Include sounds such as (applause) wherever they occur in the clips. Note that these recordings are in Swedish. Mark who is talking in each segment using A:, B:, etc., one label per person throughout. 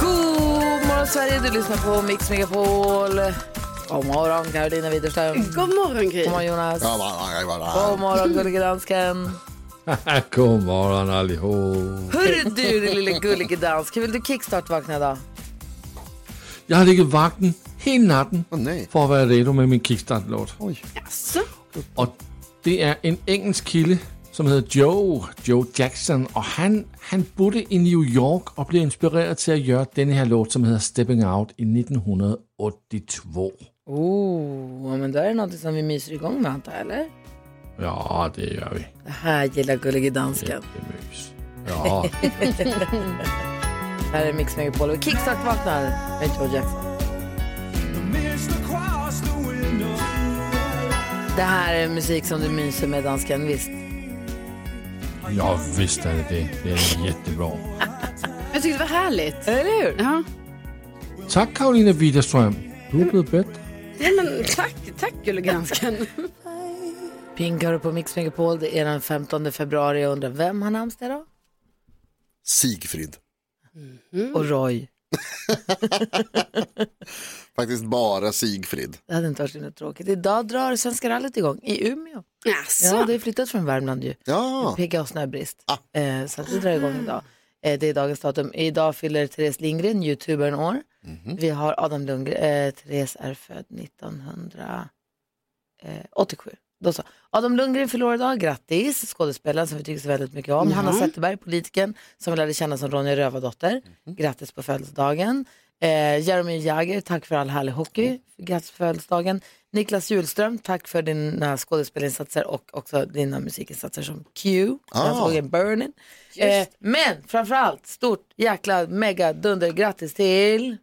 A: God morgon Sverige, du lyssnar på Mix Megapol. God morgon Karolina Widerström.
B: God morgon Gry.
A: God morgon Jonas.
C: Ja, va, va, va, va.
A: God morgon gullige dansken.
D: (laughs) God morgon allihop.
A: Hörru du din lille gullige dansk, vill du kickstart-vakna idag?
D: Jag har legat vakten hela natten
C: Åh, nej.
D: för att vara redo med min kickstart-låt.
B: Jaså?
D: Och det är en engelsk kille som heter Joe, Joe Jackson. Och han, han bodde i New York och blev inspirerad till att göra den här låt som heter Stepping Out i 1982.
A: Oh, ja, men då är det något som vi myser igång med antar jag, eller?
D: Ja, det gör vi.
A: Det här gillar gullige dansken. (laughs)
D: Jättemys. Ja,
A: Här är Mix Megapol och kickstart-vaknar med Joe Jackson. Det här är musik som du myser med dansken, visst?
D: jag visste det. Det är jättebra.
B: Jag tyckte det var härligt.
A: Eller hur?
B: Ja.
D: Tack Karolina Widerström. Du har blivit bättre.
B: ja men tack, tack (laughs) gullegransken.
A: Pinkar du på Mix Megapol, det är den 15 februari. Jag undrar vem har namnsdag idag?
C: Sigfrid. Mm.
A: Och Roy.
C: (laughs) Faktiskt bara Sigfrid.
A: Det hade inte varit så himla tråkigt. Idag drar Svenska rallyt igång i Umeå.
B: Jaså?
A: Ja, det är flyttat från Värmland ju.
C: Ja,
A: Pigga och snöbrist. Eh, så att det drar igång idag. Eh, det är dagens datum. Idag fyller Therese Lindgren, youtubern, år. Vi har Adam Lundgren. Eh, Therese är född 1987. Eh, Då så. Adam Lundgren fyller år idag, grattis. Skådespelaren som vi tycker så väldigt mycket om. Hanna Zetterberg, politikern som vi lärde känna som Ronja Rövardotter. Grattis på födelsedagen. Eh, Jeremy Jagger, tack för all härlig hockey. Grattis på födelsedagen. Niklas Julström, tack för dina skådespelinsatser och också dina musikinsatser som Q, den
C: Ah.
A: sågen Burning. Eh, men framförallt, stort jäkla mega dunder grattis till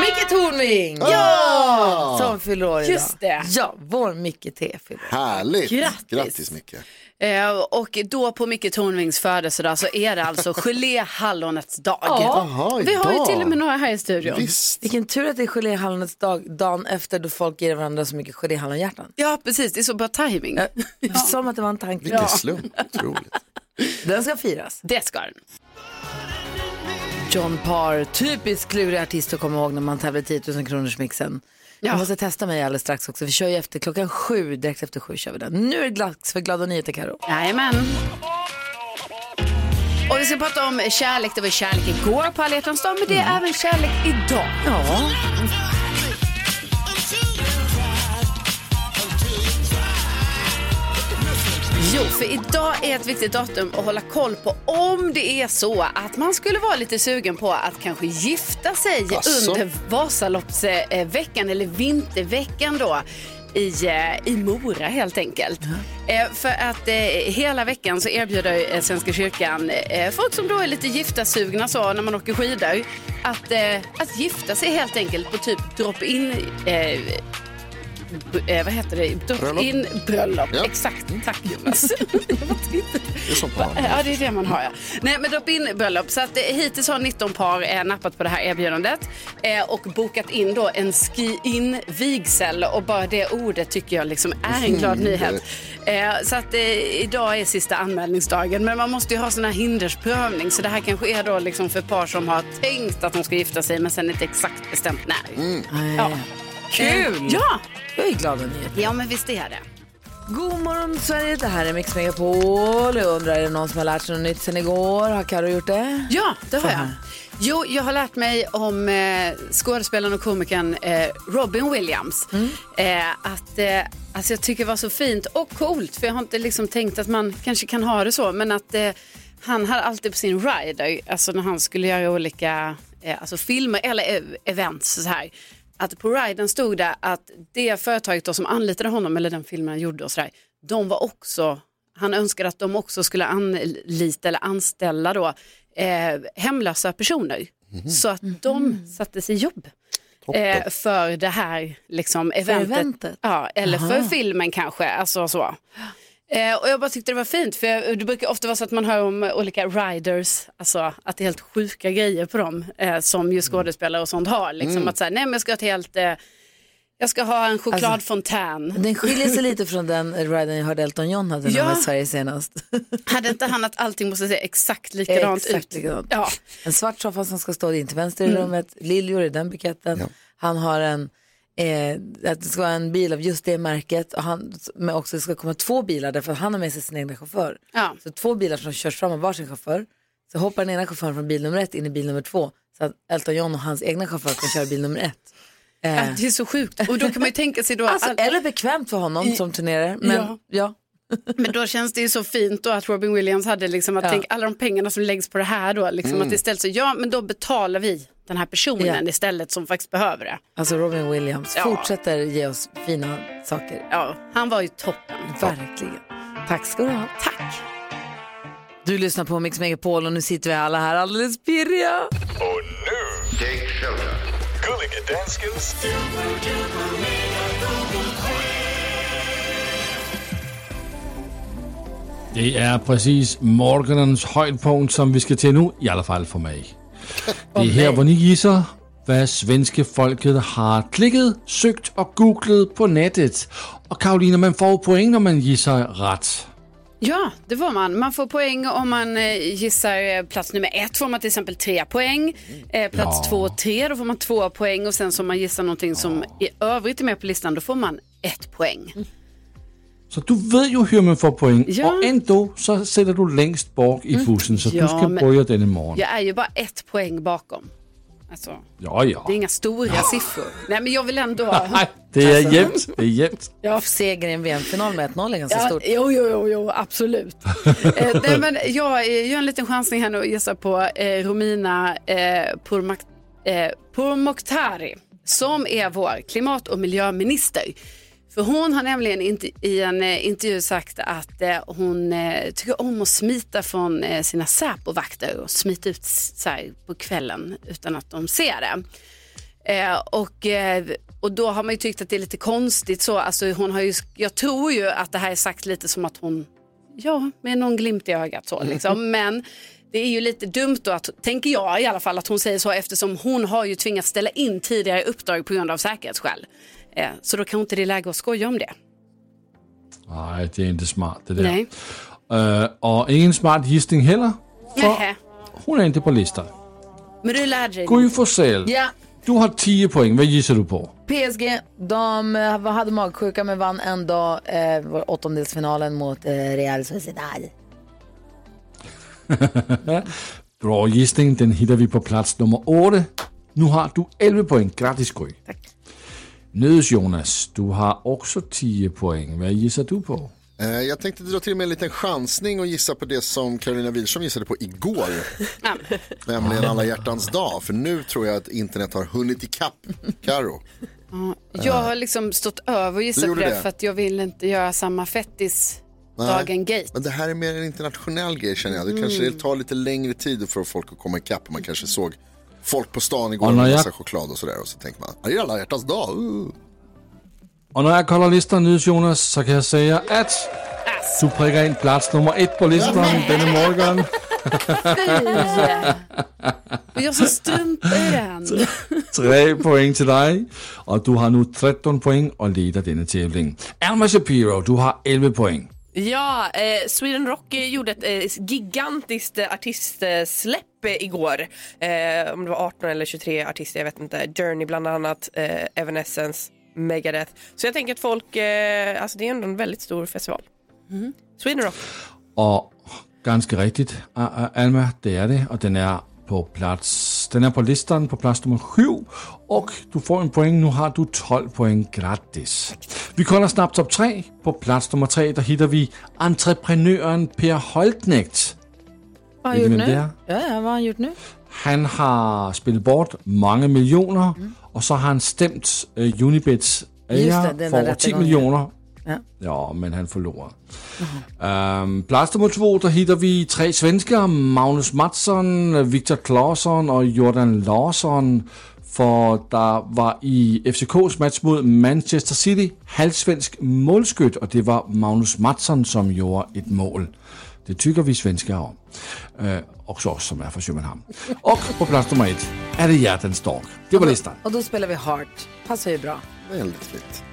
A: Micke Tornving! Ja! Som fyller år idag.
B: Just det.
A: Ja, vår Micke T fyller år.
C: härligt.
B: Grattis.
C: Grattis Micke.
B: Eh, och då på Micke Tornvings födelsedag så är det
A: (laughs)
B: alltså geléhallonets dag.
C: Jaha,
B: Vi har ju
C: idag.
B: till och med några här i studion.
C: Visst.
A: Vilken tur att det är geléhallonets dag dagen efter då folk ger varandra så mycket geléhallonhjärtan.
B: Ja precis, det är så bra timing. (laughs)
A: Som att det var en tanke.
C: Vilken slump. Otroligt.
A: Den ska firas.
B: Det ska den.
A: John Parr, typiskt klurig artist att komma ihåg när man tävlar i 10 000 kronors mixen. Jag måste testa mig alldeles strax också. Vi kör ju efter klockan sju, direkt efter sju kör vi den. Nu är det dags för glada nyheter Karo.
B: Jajamän. Och vi ska prata om kärlek. Det var kärlek igår på alla hjärtans dag, men det är även kärlek idag.
A: Mm. Ja,
B: Jo, för idag är ett viktigt datum att hålla koll på om det är så att man skulle vara lite sugen på att kanske gifta sig
C: Asså?
B: under Vasaloppsveckan eller vinterveckan då i, eh, i Mora helt enkelt. Eh, För att eh, hela veckan så erbjuder eh, Svenska kyrkan eh, folk som då är lite giftasugna så när man åker skidor att, eh, att gifta sig helt enkelt på typ drop-in eh, b- eh, vad heter det?
C: Bröllop.
B: Drop-in bröllop.
C: Ja.
B: Exakt. Tack Jonas.
C: Det är sånt man har.
B: Eh, Ja, det är det man har. Ja. Nej, men drop in bröllop. Så att, eh, hittills har 19 par eh, nappat på det här erbjudandet eh, och bokat in då en ski-in vigsel och bara det ordet tycker jag liksom är en glad nyhet. Eh, så att eh, idag är sista anmälningsdagen, men man måste ju ha sån här hindersprövning så det här kanske är då liksom för par som har tänkt att de ska gifta sig men sen inte exakt bestämt när. Ja.
A: Eh,
B: Eh,
A: Kul!
B: Ja.
A: jag är glad och nyheter.
B: ja, men visst är det.
A: God morgon Sverige, det här är Mix Megapol. Jag undrar, är det någon som har lärt sig något nytt sen igår? Har Karo gjort det?
B: Ja, det har jag.
A: Fan.
B: Jo, jag har lärt mig om eh, skådespelaren och komikern eh, Robin Williams. Eh, att, eh, alltså jag tycker det var så fint och coolt, för jag har inte liksom tänkt att man kanske kan ha det så, men att eh, han hade alltid på sin rider, alltså när han skulle göra olika eh, alltså filmer eller ev- events så här, att på riden stod det att det företaget då som anlitade honom, eller den filmen han gjorde och så där, de var också han önskade att de också skulle anlita eller anställa då eh, hemlösa personer. Så att
A: Mhm.
B: de sattes i jobb eh, för det här liksom, eventet.
E: eventet?
B: Ja, eller för
E: Aha.
B: filmen kanske. Alltså, så. Eh, och jag bara tyckte det var fint, för jag, det brukar ofta vara så att man hör om eh, olika riders, alltså att det är helt sjuka grejer på dem eh, som ju skådespelare och sånt har. Liksom, att så här, nej men jag ska ha ett helt, eh, jag ska ha en chokladfontän.
A: Alltså, Den skiljer sig lite från den riden jag hörde Elton John hade när
B: Ja.
A: han var i Sverige senast.
B: Hade inte han att allting måste se exakt likadant
A: Exakt
B: ut?
A: likadant.
B: Ja. Mm.
A: En svart soffa som ska stå in till vänster i rummet, liljor i den buketten. Han har en, eh, att det ska vara en bil av just det märket. Och han, men också det ska komma två bilar därför att han har med sig sin egna chaufför.
B: Ja.
A: Så två bilar som körs fram av varsin chaufför. Så hoppar den ena chauffören från bil nummer ett in i bil nummer två. Så att Elton John och hans egna chaufför kan köra bil nummer ett. Eh,
B: Det är så sjukt. Och då kan man ju tänka sig då,
A: alltså,
B: all-
A: eller bekvämt för honom som turnerar. Men (laughs) ja.
B: Ja. men då känns det ju så fint då att Robin Williams hade liksom att
A: Ja. Mm.
B: tänk alla de pengarna som läggs på det här då, liksom att istället så, ja men då betalar vi den här personen
A: Ja.
B: istället som faktiskt behöver det.
A: alltså Robin Williams
B: Ja.
A: fortsätter ge oss fina saker.
B: Ja, han var ju toppen.
A: Verkligen. Tack ska du ha. Tack. Du lyssnar på Mix Megapol och nu sitter vi alla här alldeles pirriga.
D: Det er præcis morgenens højdepunkt, som vi skal til nu, i alle fald for mig. Det er her, hvor ni gisser, hvad svenske folket har klikket, søgt og googlet på nettet. Og Karoline, man får jo point, når man gisser ret.
B: Ja, det var man. Man får poäng om man eh, gissar eh, plats nummer ett får man till exempel tre poäng. Eh, plats
D: Ja.
B: två och tre då får man två poäng och sen så om man gissar någonting som i övrigt är med på listan då får man ett poäng.
D: Så du ved jo, hvor man får point,
B: Ja. Mm.
D: og endda så sætter du længst bort i bussen, så
B: Ja,
D: du skal
B: men-
D: prøve denne morgen.
B: Jag är ju bara ett poäng bakom. Alltså,
D: Ja, (laughs) ja.
B: det är inga stora siffror. Nej, men jag vill ändå...
D: Nej, (laughs) det er jævnt. Det er jævnt.
A: Seger i en VM-final med 1-0 är ganska
B: Ja,
A: stort.
B: jo, jo, jo, jo,
A: (laughs)
B: absolut. eh, nej, men jag eh, gör en liten chansning här nu och gissar på eh, Romina eh, Pourmak eh, Pourmokhtari som är vår klimat och miljöminister. För hon har nämligen inte, i en eh, intervju sagt att eh, hon eh, tycker om att smita från eh, sina Säpovakter och smita ut s- så här, på kvällen utan att de ser det. Eh, och, eh, och då har man ju tyckt att det är lite konstigt så. Alltså, hon har ju, jag tror ju att det här är sagt lite som att hon, ja, med någon glimt i ögat så liksom. Men det är ju lite dumt då, att, tänker jag i alla fall, att hon säger så eftersom hon har ju tvingats ställa in tidigare uppdrag på grund av säkerhetsskäl. Eh, så då kan inte det är läge att skoja om det.
D: Nej, det er ikke smart, det der.
B: Nej.
D: Øh, og ingen smart gisting heller, for
B: Nähä.
D: hun er ikke på listerne.
B: Men du lärde dig.
D: Gry Forssell,
A: Ja,
D: du har 10 point. Hvad gisser du på?
A: PSG, de eh, hade magsjuka men vann ändå eh, var åttondelsfinalen mot eh, Real Sociedad.
D: Bra gisting, den hitter vi på plads nummer 8. Nu har du 11 point. Gratis, Gry. Tak. Nødes Jonas, du har også 10 point. Hvad gisser du på?
C: Eh, Jag tänkte dra till med en liten chansning och gissa på det som Carolina Widerström gissade på igår. Nämligen alla hjärtans dag. För nu tror jag att internet har hunnit ikapp Karo.
B: Jag har liksom stått över och
C: Du
B: gissat
C: gjorde
B: det,
C: det.
B: för att jag vill inte göra samma fettis
C: Nej.
B: dagen gate.
C: Men det här är mer en internationell grej känner jag. Det kanske tar lite längre tid för folk att komma ikapp. Man kanske såg folk på stan igår
D: Och
C: med
D: när jag-
C: massa choklad och sådär. Och så tänker man, det är alla hjärtans dag. Uh.
D: Og når jeg kolder listerne, Nødes Jonas, så kan jeg sige, at du prikker ind plads nummer 1 på listeren denne morgen. (laughs)
B: Och jag som struntar i den.
D: 3 point til dig, og du har nu 13 point og leder denne tævling. Alma Shapiro, du har 11 point.
F: Ja, eh, Sweden Rock eh, gjorde ett eh, gigantiskt eh, artistsläpp eh, igår. Eh, om det var 18 eller 23 artister, jag vet inte. Journey bland annat, eh, Evanescence, Megadeth. Så jag tänker att folk, eh, altså det är ändå en väldigt stor festival. Sweden Rock.
D: Og ganske rigtigt, A- A- Alma, det er det, og den er på plads. Den er på listeren på plads nummer 7, og du får en point. Nu har du 12 point gratis. Vi kolder snart top 3. På plads nummer 3, der hitter vi entreprenøren Per Holtnægt.
A: Vad har
D: Ved
A: han
D: I,
A: gjort
D: hvem det er?
A: nu? Ja, ja, vad har han gjort nu?
D: Han har spillet bort mange millioner, og så har han stemt øh, Unibets
A: Mm. det,
D: æger
A: den er
D: for over
A: ret
D: 10
A: begrundet.
D: millioner Ja, men han förlorar. Øhm, Plaster mot två, där hittar vi tre svenskar. Magnus Mattsson, Viktor Claesson och Jordan Larsson. För där var i FCKs match mot Manchester City halvsvensk målskytt och det var Magnus Mattsson som gjorde ett mål. Det tycker vi svenskar om. Øh, också oss som är från Köpenhamn. Och på plats nummer ett är det Hjärtens dag. Det var listan.
A: Och då spelar vi Heart. Passar ju bra.
C: Väldigt fint.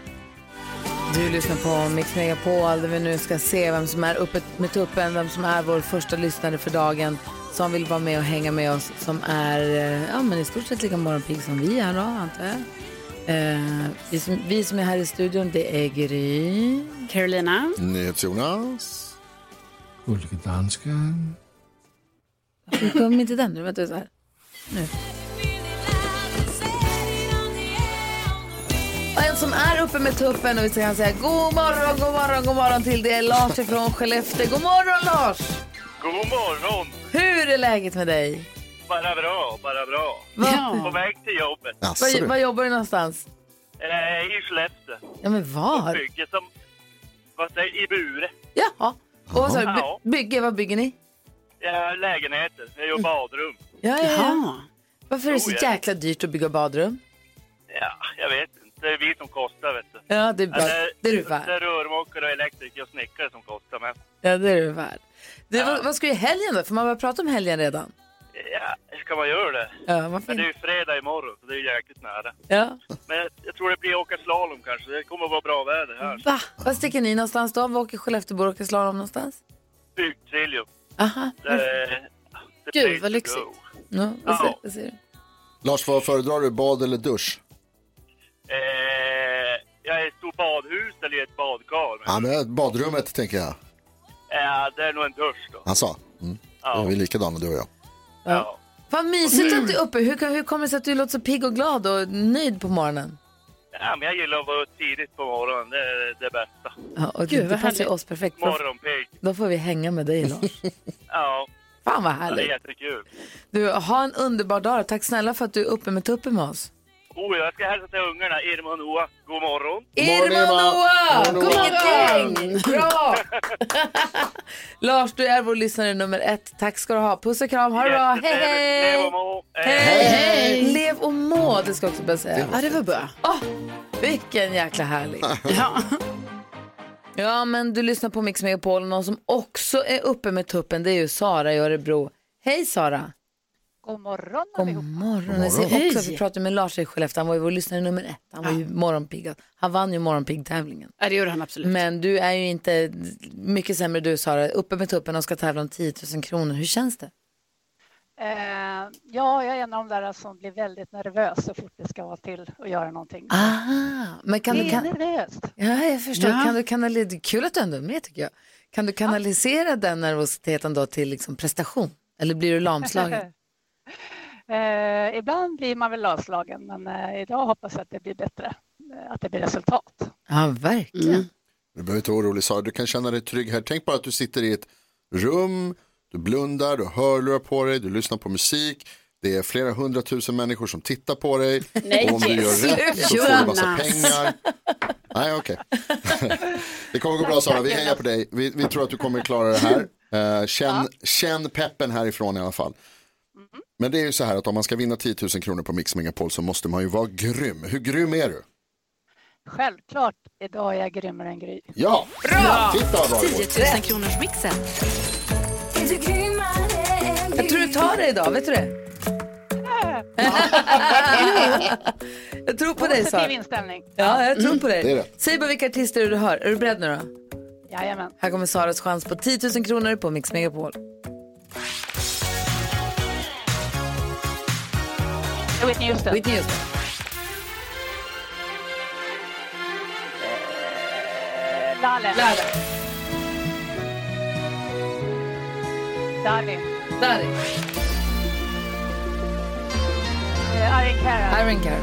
A: Du lyssnar på Mix Megapol där vi nu ska se vem som är uppe med tuppen, vem som är vår första lyssnare för dagen som vill vara med och hänga med oss, som är eh, ja, men i stort sett lika morgonpigg som vi är då, antar jag. Eh, vi, som, vi som är här i studion, det är Gry.
B: Carolina.
C: NyhetsJonas.
D: Ulrika Dansken.
A: Nu kom inte den nu, vänta så här. Nu. Och en som är uppe med tuppen och vi ska säga god morgon, god morgon, god morgon till det är Lars från Skellefteå. God morgon Lars!
G: God morgon!
A: Hur är läget med dig?
G: Bara bra, bara bra. På
B: Ja.
G: väg till jobbet.
C: Jaså
A: Var, var
C: du.
A: jobbar du någonstans?
G: Eh, I Skellefteå.
A: Ja men var?
G: Bygger som... Vad säger I Bure.
A: Jaha. Och vad sa du?
G: Ja.
A: By- bygge, vad bygger ni?
G: Jag har lägenheter. Jag gör badrum.
A: Mm. Ja, ja, ja.
B: Jaha.
A: Varför är det så
G: Oh, ja.
A: jäkla dyrt att bygga badrum?
G: Ja, jag vet inte. Det är vi som kostar, vet du.
A: Ja, det är, bra.
G: Eller,
A: det är du
G: Det
A: värd.
G: är rörmokare och elektriker och snickare som kostar, men...
A: Ja, det är du värd. Du, vad, vad ska du i helgen då? För man börjar prata om helgen redan.
G: Ja, ska man göra det?
A: Ja, vad
G: Men det är
A: fint.
G: ju fredag imorgon, så det är ju jäkligt nära.
A: Ja.
G: Men jag- jag tror det blir åka slalom kanske. Det kommer att vara bra väder här.
A: Va? Var sticker ni någonstans då? Var åker Skelleftebor och åker slalom någonstans?
G: Bygdsiljum.
A: Aha.
G: Det är- the
B: Gud,
G: place
B: vad
G: to
B: lyxigt.
G: go.
A: Ja, vad, säger,
G: Ja.
A: vad säger du?
C: Lars, vad föredrar du? Bad eller dusch?
G: Eh, jag är i ett stort badhus eller i ett badkar. Men,
C: Ja, men badrummet tänker jag.
G: eh, det är nog en dusch då.
C: Han sa. Mm.
G: Ja.
C: Vi är likadana du och jag.
G: Ja.
A: Vad mysigt att du är uppe. Hur, kan- hur kommer det sig att du låter så pigg och glad och nöjd på morgonen?
G: ja, men jag gillar att vara upp tidigt på morgonen. Det är det bästa.
A: Ja, och
B: Gud,
A: det, det
B: vad
A: passar ju
B: härligt.
A: oss perfekt. Då,
G: Morgonpigg.
A: då får vi hänga med dig, Lars. (laughs)
G: Ja,
A: Fan vad
G: det är
A: härligt.
G: jättekul.
A: Du, ha en underbar dag. Tack snälla för att du är uppe med tuppen med oss.
G: Oh, jag ska hälsa till ungarna, Irma och Noah. God morgon.
A: Irma och Noah!
C: God morgon,
A: Vilket gäng! Bra! Lars, du är vår lyssnare nummer ett. Tack ska du ha. Puss och kram. Ha det bra. Hej,
G: Jättetrevligt. Lev och
A: hej!
G: må.
A: Hej! hej. Lev och må, det ska jag också börja säga.
B: Ja, det var bra.
A: Vilken jäkla härlig.
B: Ja.
A: Ja, men du lyssnar på Mix Megapol. Någon som också är uppe med tuppen, det är ju Sara i Örebro. Hej Sara!
H: God morgon
A: God morgon. Jag ser också att vi
B: Hej.
A: pratade med Lars i Skellefteå. Han var ju vår lyssnare nummer ett. Han var ju morgonpigg. Han vann ju morgonpigg-tävlingen.
B: Ja, det gjorde han absolut.
A: Men du är ju inte mycket sämre du Sara. Uppe med tuppen och ska tävla om 10 000 kronor. Hur känns det?
H: Eh, ja, jag är en av de där som blir väldigt nervös så fort det ska vara till att göra någonting.
A: Ah, men kan
H: det
A: du...
H: är
A: Kan...
H: nervöst.
A: Ja, jag förstår.
B: Ja.
A: Kan du kanalisera... Kul att du ändå är med tycker jag. Kan du kanalisera den nervositeten då till liksom prestation? Eller blir
B: (laughs)
A: du lamslagen?
H: (laughs) Eh, ibland blir man väl avslagen, men eh, idag hoppas jag att det blir bättre. eh, Att det blir resultat.
A: ja, verkligen.
C: Du behöver inte vara orolig Sara, du kan känna dig trygg här. Tänk bara att du sitter i ett rum, du blundar, du har hörlurar på dig, du lyssnar på musik. Det är flera hundratusen människor som tittar på dig.
B: Nej,
C: och om du gör rätt så får du massa
B: Jonas.
C: pengar. Nej, okej. det kommer gå bra Sara, vi hejar på dig. Vi, vi tror att du kommer klara det här. Eh, känn, känn peppen härifrån i alla fall. Men det är ju så här att om man ska vinna 10 000 kronor på Mix Megapol så måste man ju vara grym. Hur grym är du?
H: Självklart, idag är jag grymmare än Gry.
C: Ja, bra! Titta vad bra det går.
I: 10 000 kronors mixen.
A: Jag tror du tar det idag, vet du det? (laughs) jag tror på dig
H: Positiv
A: Sara.
H: inställning.
A: Ja, jag tror på
C: Mm. Det är
A: dig.
C: rätt.
A: Säg bara vilka artister du hör. Är du beredd nu då?
H: Jajamän.
A: Här kommer Saras chans på 10 000 kronor på Mix Megapol.
H: Whitney Houston.
A: Whitney Houston.
H: Laleh.
A: Lärare.
H: Darling.
A: Dari.
H: Eh, Irene Cara.
A: Iron Cara.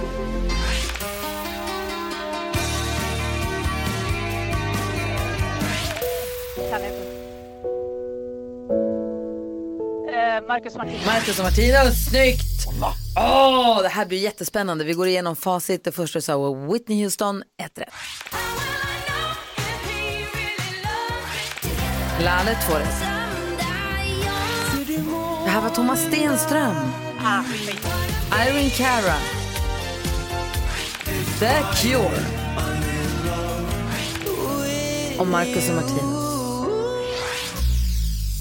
H: Kan jag inte. Eh, Marcus Martinez.
A: Marcus och Martinus. Snyggt! Åh, det här blir jättespännande. Vi går igenom facit. Det första sa Whitney Houston, ett rätt. Planet Torres. Det här var Thomas Stenström. Irene Cara. The Cure. Och Marcus och Martinus.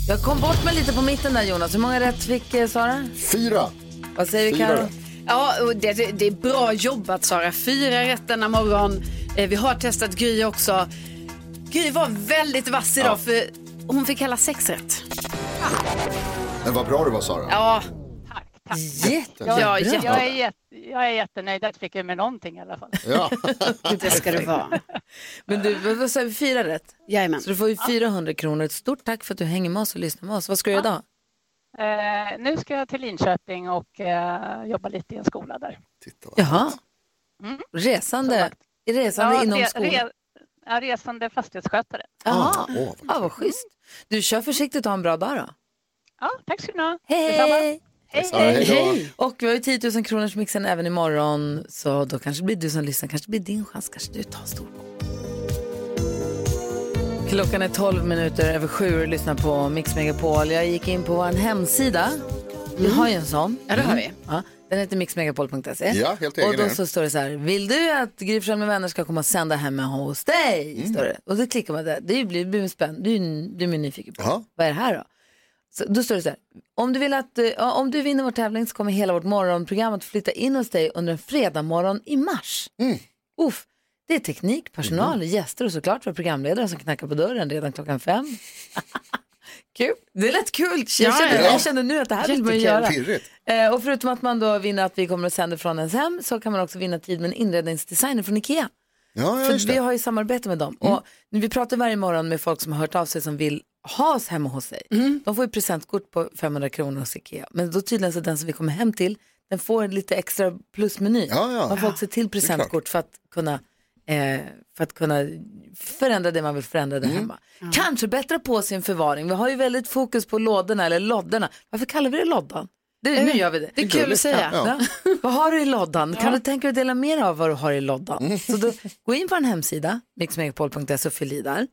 A: Jag kom bort mig lite på mitten där Jonas. Hur många rätt fick eh, Sara?
C: Fyra.
A: Vad säger vi
C: Fyra
A: Karo?
C: rätt.
B: Ja, och det, det är bra jobbat Sara. Fyra rätt denna morgon. Eh, Vi har testat Gry också. Gry var väldigt vass idag för hon fick hela sex rätt.
C: Men vad bra du var Sara.
B: Ja,
C: Jättebra.
H: Jag, jag, jag, är jätte, jag är jättenöjd att jag fick med någonting i alla fall.
A: (laughs)
C: Ja.
B: det ska det vara.
A: Men du, vad vad säger vi? Fyra rätt?
B: Jajamän.
A: Så du får ju 400 kronor. Ett stort tack för att du hänger med oss och lyssnar med oss. Vad ska du göra idag?
H: Eh, nu ska jag till Linköping och eh, jobba lite i en skola där.
A: Jaha. Mm. Resande, resande
H: Ja,
A: inom
H: re-
A: skolan?
H: re- ja, resande fastighetsskötare.
A: Jaha. Ja, vad schysst. Du, kör försiktigt och ha en bra dag då.
H: Ja, tack ska ni ha.
A: Hej!
H: Hej,
C: Sara, hej då.
A: Och vi har ju 10 000 kronors mixen även imorgon. Så då kanske det blir du som lyssnar, kanske det blir din chans, kanske du tar en stor Klockan är 12 minuter över sju och lyssnar på Mix Megapol. Jag gick in på vår hemsida. Vi har ju en sån.
B: Mm.
A: Mm.
B: Ja, det har vi.
A: Ja, den heter mixmegapol.se.
C: Ja, helt
A: Och
C: egen
A: då
C: är
A: så står det så här, vill du att Gry Forssell med vänner ska komma och sända hemma hos dig? Står det. Och då klickar man där. Det blir, blir spännande. Du, du är nyfiken på.
C: Ja.
A: Vad är det här då? Så, då står det så här, om du, vill att, eh, ja, om du vinner vår tävling så kommer hela vårt morgonprogram att flytta in hos dig under en fredagmorgon i mars. Uff, det är teknik, personal, gäster och såklart vår programledare som knackar på dörren redan klockan fem. kul, det lät kul. Jag,
B: Ja,
A: känner,
B: ja.
A: jag känner nu att det här vill man ju
B: Jättekul.
A: göra.
C: Pirrigt.
A: Eh, och förutom att man då vinner att vi kommer att sända från ens hem så kan man också vinna tid med en inredningsdesigner från Ikea.
C: Ja, ja,
A: För
C: just
A: vi
C: det. Mm.
A: har ju samarbete med dem. Och vi pratar varje morgon med folk som har hört av sig som vill ha oss hemma hos sig.
C: Mm.
A: De får ju presentkort på 500 kronor hos Ikea. Men då tydligen så den som vi kommer hem till, den får en lite extra plusmeny.
C: Ja, ja.
A: Man får också till presentkort för att kunna eh, för att kunna förändra det man vill förändra
C: Mm.
A: där hemma. Kanske bättra på sin förvaring. Vi har ju väldigt fokus på lådorna eller loddorna. Varför kallar vi det loddan?
C: Eh,
A: Det, nu gör vi det.
B: Det är kul att säga.
A: Ja. (laughs) Vad har du i loddan? Kan du tänka dig att dela mer av vad du har i
B: Mm.
A: loddan? Så då, gå in på en hemsida, mixmegapol.se och fyll i där.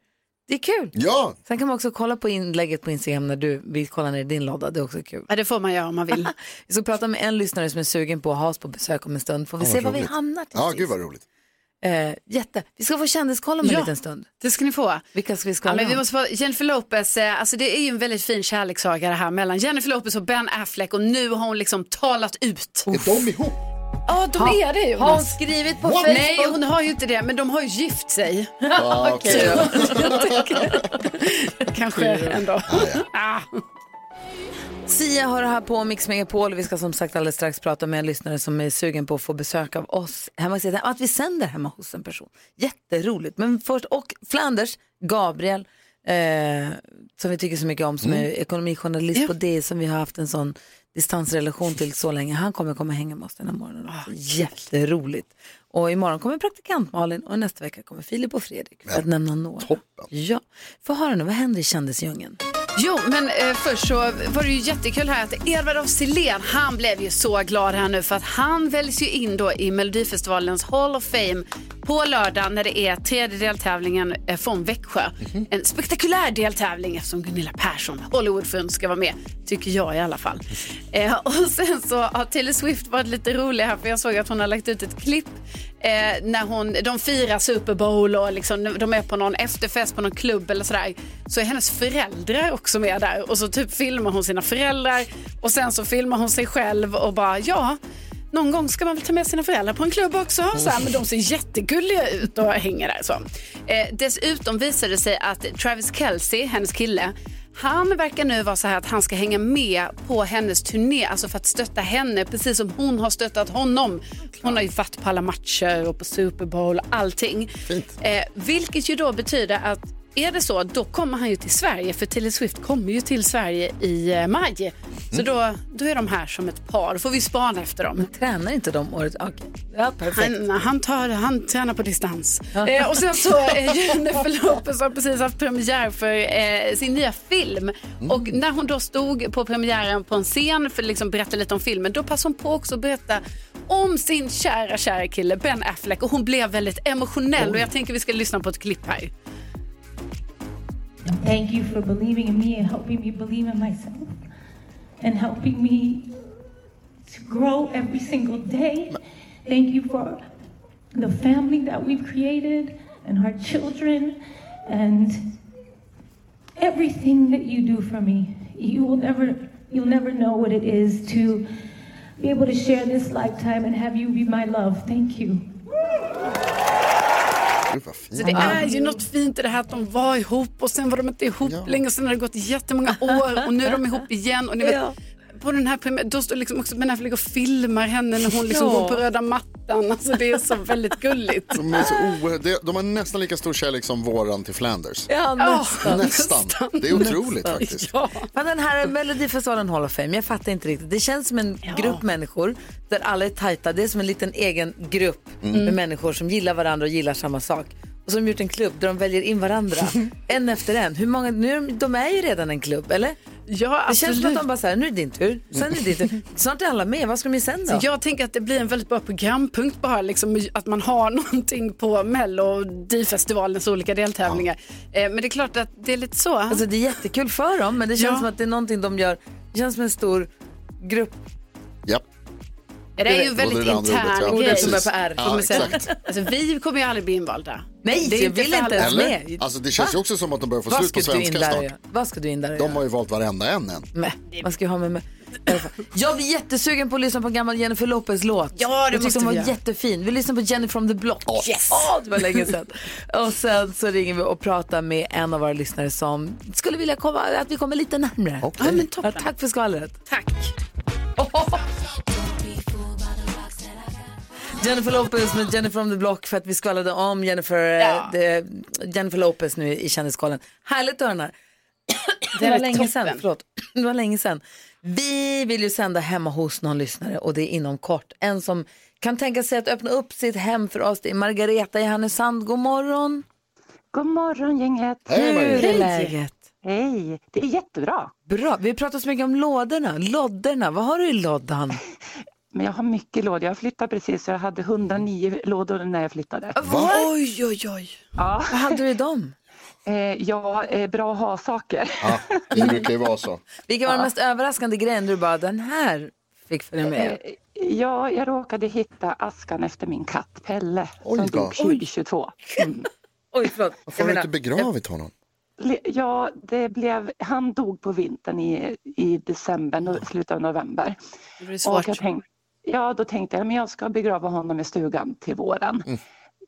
A: Det är kul.
C: Ja,
A: Sen kan man också kolla på inlägget på Instagram när du vill kolla ner i din lodda. Det är också kul.
B: Ja, det får man göra om man vill.
A: (laughs) Vi ska prata med en lyssnare som är sugen på att ha oss på besök om en stund. Får vi
C: Ja,
A: se
C: vad
A: var vi
C: roligt.
A: hamnar till
C: ja
A: sist.
C: gud vad roligt.
A: Eh, jätte. Vi ska få kändiskoll om en
B: Ja.
A: liten stund.
B: Det ska ni få.
A: Vilka ska vi skala
B: Ja, men vi
A: om?
B: måste (laughs) få, Jennifer Lopez, eh, alltså det är ju en väldigt fin kärlekssaga det här mellan Jennifer Lopez och Ben Affleck och nu har hon liksom talat ut.
C: Är de ihop?
B: Ja, de är det Jonas.
A: Har hon skrivit på Facebook?
B: Nej, hon har ju inte det, men de har ju gift sig.
A: (laughs)
B: Typ.
C: Ja,
B: (laughs)
C: okej.
A: (laughs)
B: Kanske ändå. Ah.
A: Sia har det här på Mix Megapol. Vi ska som sagt alldeles strax prata med en lyssnare som är sugen på att få besök av oss hemma hos Att vi sänder hemma hos en person. Jätteroligt. Men först, och Flanders, Gabriel, eh, som vi tycker så mycket om, som är ekonomijournalist på det som vi har haft en sån distansrelation till så länge. Han kommer komma hänga med oss den här morgonen. också. Jätteroligt. Och imorgon kommer praktikant Malin och nästa vecka kommer Filip och Fredrik. För att nämna några. Toppen. Ja. Få höra nu, vad händer i kändisdjungeln?
B: Jo, men eh, först så var det ju jättekul här att Edvard af Sillén, han blev ju så glad här nu för att han väljs ju in då i Melodifestivalens Hall of Fame på lördag när det är tredje deltävlingen eh, från Växjö. En spektakulär deltävling eftersom Gunilla Persson, Hollywoodfrun, ska vara med. Tycker jag i alla fall. Eh, och sen så har Taylor Swift varit lite rolig här för jag såg att hon har lagt ut ett klipp eh, när hon, de firar Super Bowl och liksom, de är på någon efterfest på någon klubb eller sådär. Så är hennes föräldrar också med där och så typ filmar hon sina föräldrar och sen så filmar hon sig själv och bara ja, någon gång ska man väl ta med sina föräldrar på en klubb också. Så här, men de ser jättegulliga ut och hänger där. Så. Eh, dessutom visade det sig att Travis Kelce, hennes kille, han verkar nu vara så här att han ska hänga med på hennes turné, alltså för att stötta henne, precis som hon har stöttat honom. Hon har ju varit på alla matcher och på Super Bowl och allting. Eh, vilket ju då betyder att är det så, då kommer han ju till Sverige, för Taylor Swift kommer ju till Sverige i eh, maj. Så då, då är de här som ett par, då får vi spana efter dem.
A: Tränar inte de året? Okej. Ja, perfekt.
B: Han, han, tar, han tränar på distans. (laughs) Eh, och sen så eh,
A: (laughs)
B: Jennifer Lopez har precis haft premiär för eh, sin nya film. Och när hon då stod på premiären på en scen för att liksom berätta lite om filmen, då passade hon på också att berätta om sin kära, kära kille Ben Affleck. Och hon blev väldigt emotionell och jag tänker vi ska lyssna på ett klipp här.
I: Thank you for believing in me and helping me believe in myself and helping me to grow every single day. Thank you for the family that we've created and our children and everything that you do for me. You will never you'll never know what it is to be able to share this lifetime and have you be my love. Thank you.
C: Gud, vad fint.
B: Så det är ju något fint i det här att de var ihop och sen var de inte ihop länge och sen har det gått jättemånga år och nu är de ihop igen. Och ni vet,
A: Ja.
B: På den här premiären, då står liksom också Ben Affleck och filmar henne när hon liksom
A: Ja.
B: går på röda mattan. Alltså det är så väldigt gulligt.
C: De, är så oerhört- det- de har nästan lika stor kärlek som våran till Flanders.
A: Ja, nästan.
C: nästan. Det är otroligt faktiskt.
A: Men den här Melodifestivalen Hall of Fame, jag fattar inte riktigt. Det känns som en grupp människor där alla är tajta. Det är som en liten egen grupp
J: Mm.
A: med människor som gillar varandra och gillar samma sak. Och som gjort en klubb där de väljer in varandra,
B: (laughs)
A: en efter en. Hur många, nu, är de- de är ju redan en klubb, eller?
B: Ja,
A: det känns som att
B: absolut.
A: de bara säger, nu är det din tur, sen är det din tur. Snart är alla med, vad ska de göra sen
B: Så
A: då?
B: jag tänker att det blir en väldigt bra programpunkt bara, liksom, att man har (laughs) någonting på Mello och D-festivalens olika deltävlingar. Eh, Men det är klart att det är lite så.
A: Alltså det är jättekul för dem, men det känns
B: Ja.
A: som att det är någonting de gör. Det känns som en stor grupp.
C: Japp.
B: Det är ju en
C: Både
B: väldigt
C: det andra ordet, ja.
B: intern grej.
C: Ordet som börjar på R. Ja,
B: Kommer sen-
C: exakt.
B: alltså, vi kommer ju aldrig bli invalda.
A: Nej,
B: Det är
A: jag vill
B: för
A: inte
B: alla.
A: ens med.
C: Alltså det känns ju
A: Va?
C: också som att de börjar få
A: Vad
C: slut på
A: ska du in
C: svenska
A: där
C: snart.
A: och göra? Vad ska du in där och
C: De
A: göra?
C: har ju valt varenda en än.
A: Med. Man ska ju ha med, med. i alla fall. Jag blir jättesugen på att lyssna på en gammal Jennifer Lopez-låt.
B: Ja, det
A: Jag tyckte
B: måste
A: den var
B: vi göra.
A: jättefin. Vi lyssnar på Jennifer from the Block.
B: Åh, yes.
A: Åh, det var länge sedan. och sen så ringer vi och pratar med en av våra lyssnare som skulle vilja komma, att vi kommer lite närmare. Ja, men toppen. Ja, tack för skvallret.
B: Tack.
A: Jennifer Lopez med Jennifer from the Block för att vi skvallrade om Jennifer, eh, de, Jennifer Lopez nu i Kändiskollen. Härligt att höra den här. Det
B: är
A: var länge
B: toppen.
A: sedan. Förlåt. Det var länge sedan. Vi vill ju sända hemma hos någon lyssnare och det är inom kort. En som kan tänka sig att öppna upp sitt hem för oss, det är Margareta i Härnösand. God morgon.
K: God morgon gänget.
A: Hur är läget?
K: Hej, det är jättebra.
A: Bra. Vi pratar så mycket om lådorna, lodderna. Vad har du i loddan?
K: Men jag har mycket lådor. Jag flyttade precis så jag hade 109 lådor när jag flyttade.
B: Oj, oj, oj.
K: Ja.
A: Vad hade du i dem?
K: ja, eh, bra att ha saker.
C: Ja, det brukar ju vara så.
A: Vilken var den
K: Ja.
A: mest överraskande grejen du bara, den här fick följa med?
K: Eh, Ja, jag råkade hitta askan efter min katt Pelle som
C: då.
K: dog 2022. Mm.
A: Oj, förlåt.
C: Varför har du inte begravit honom?
K: Le- Ja, det blev, han dog på vintern i, i december, no, slutet av november.
B: Det blir
K: Och jag
B: svårt.
K: tänk, ja, då tänkte jag men jag ska begrava honom i stugan till våren.
A: Mm.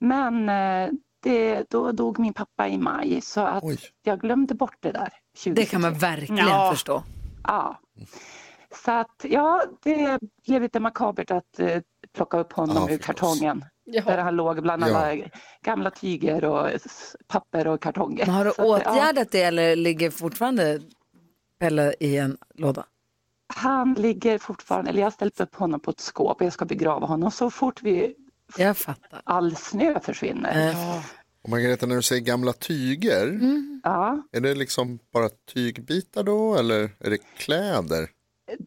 K: Men eh, det, då dog min pappa i maj så att jag glömde bort det där. 2022.
A: Det kan man verkligen förstå.
K: Ja. Så att ja, det blev lite makabert att eh, plocka upp honom ur kartongen. Där han låg bland alla gamla tyger och s- papper och kartonger.
A: Men har du
K: Så att, ja.
A: åtgärdat det eller ligger fortfarande Pelle i en låda?
K: Han ligger fortfarande, eller jag har ställt upp honom på ett skåp och jag ska begrava honom så fort vi
A: jag fattar. Eh.
K: all snö försvinner. Ja.
C: Och Margareta, när du säger gamla tyger,
K: ja,
C: är det liksom bara tygbitar då eller är det kläder?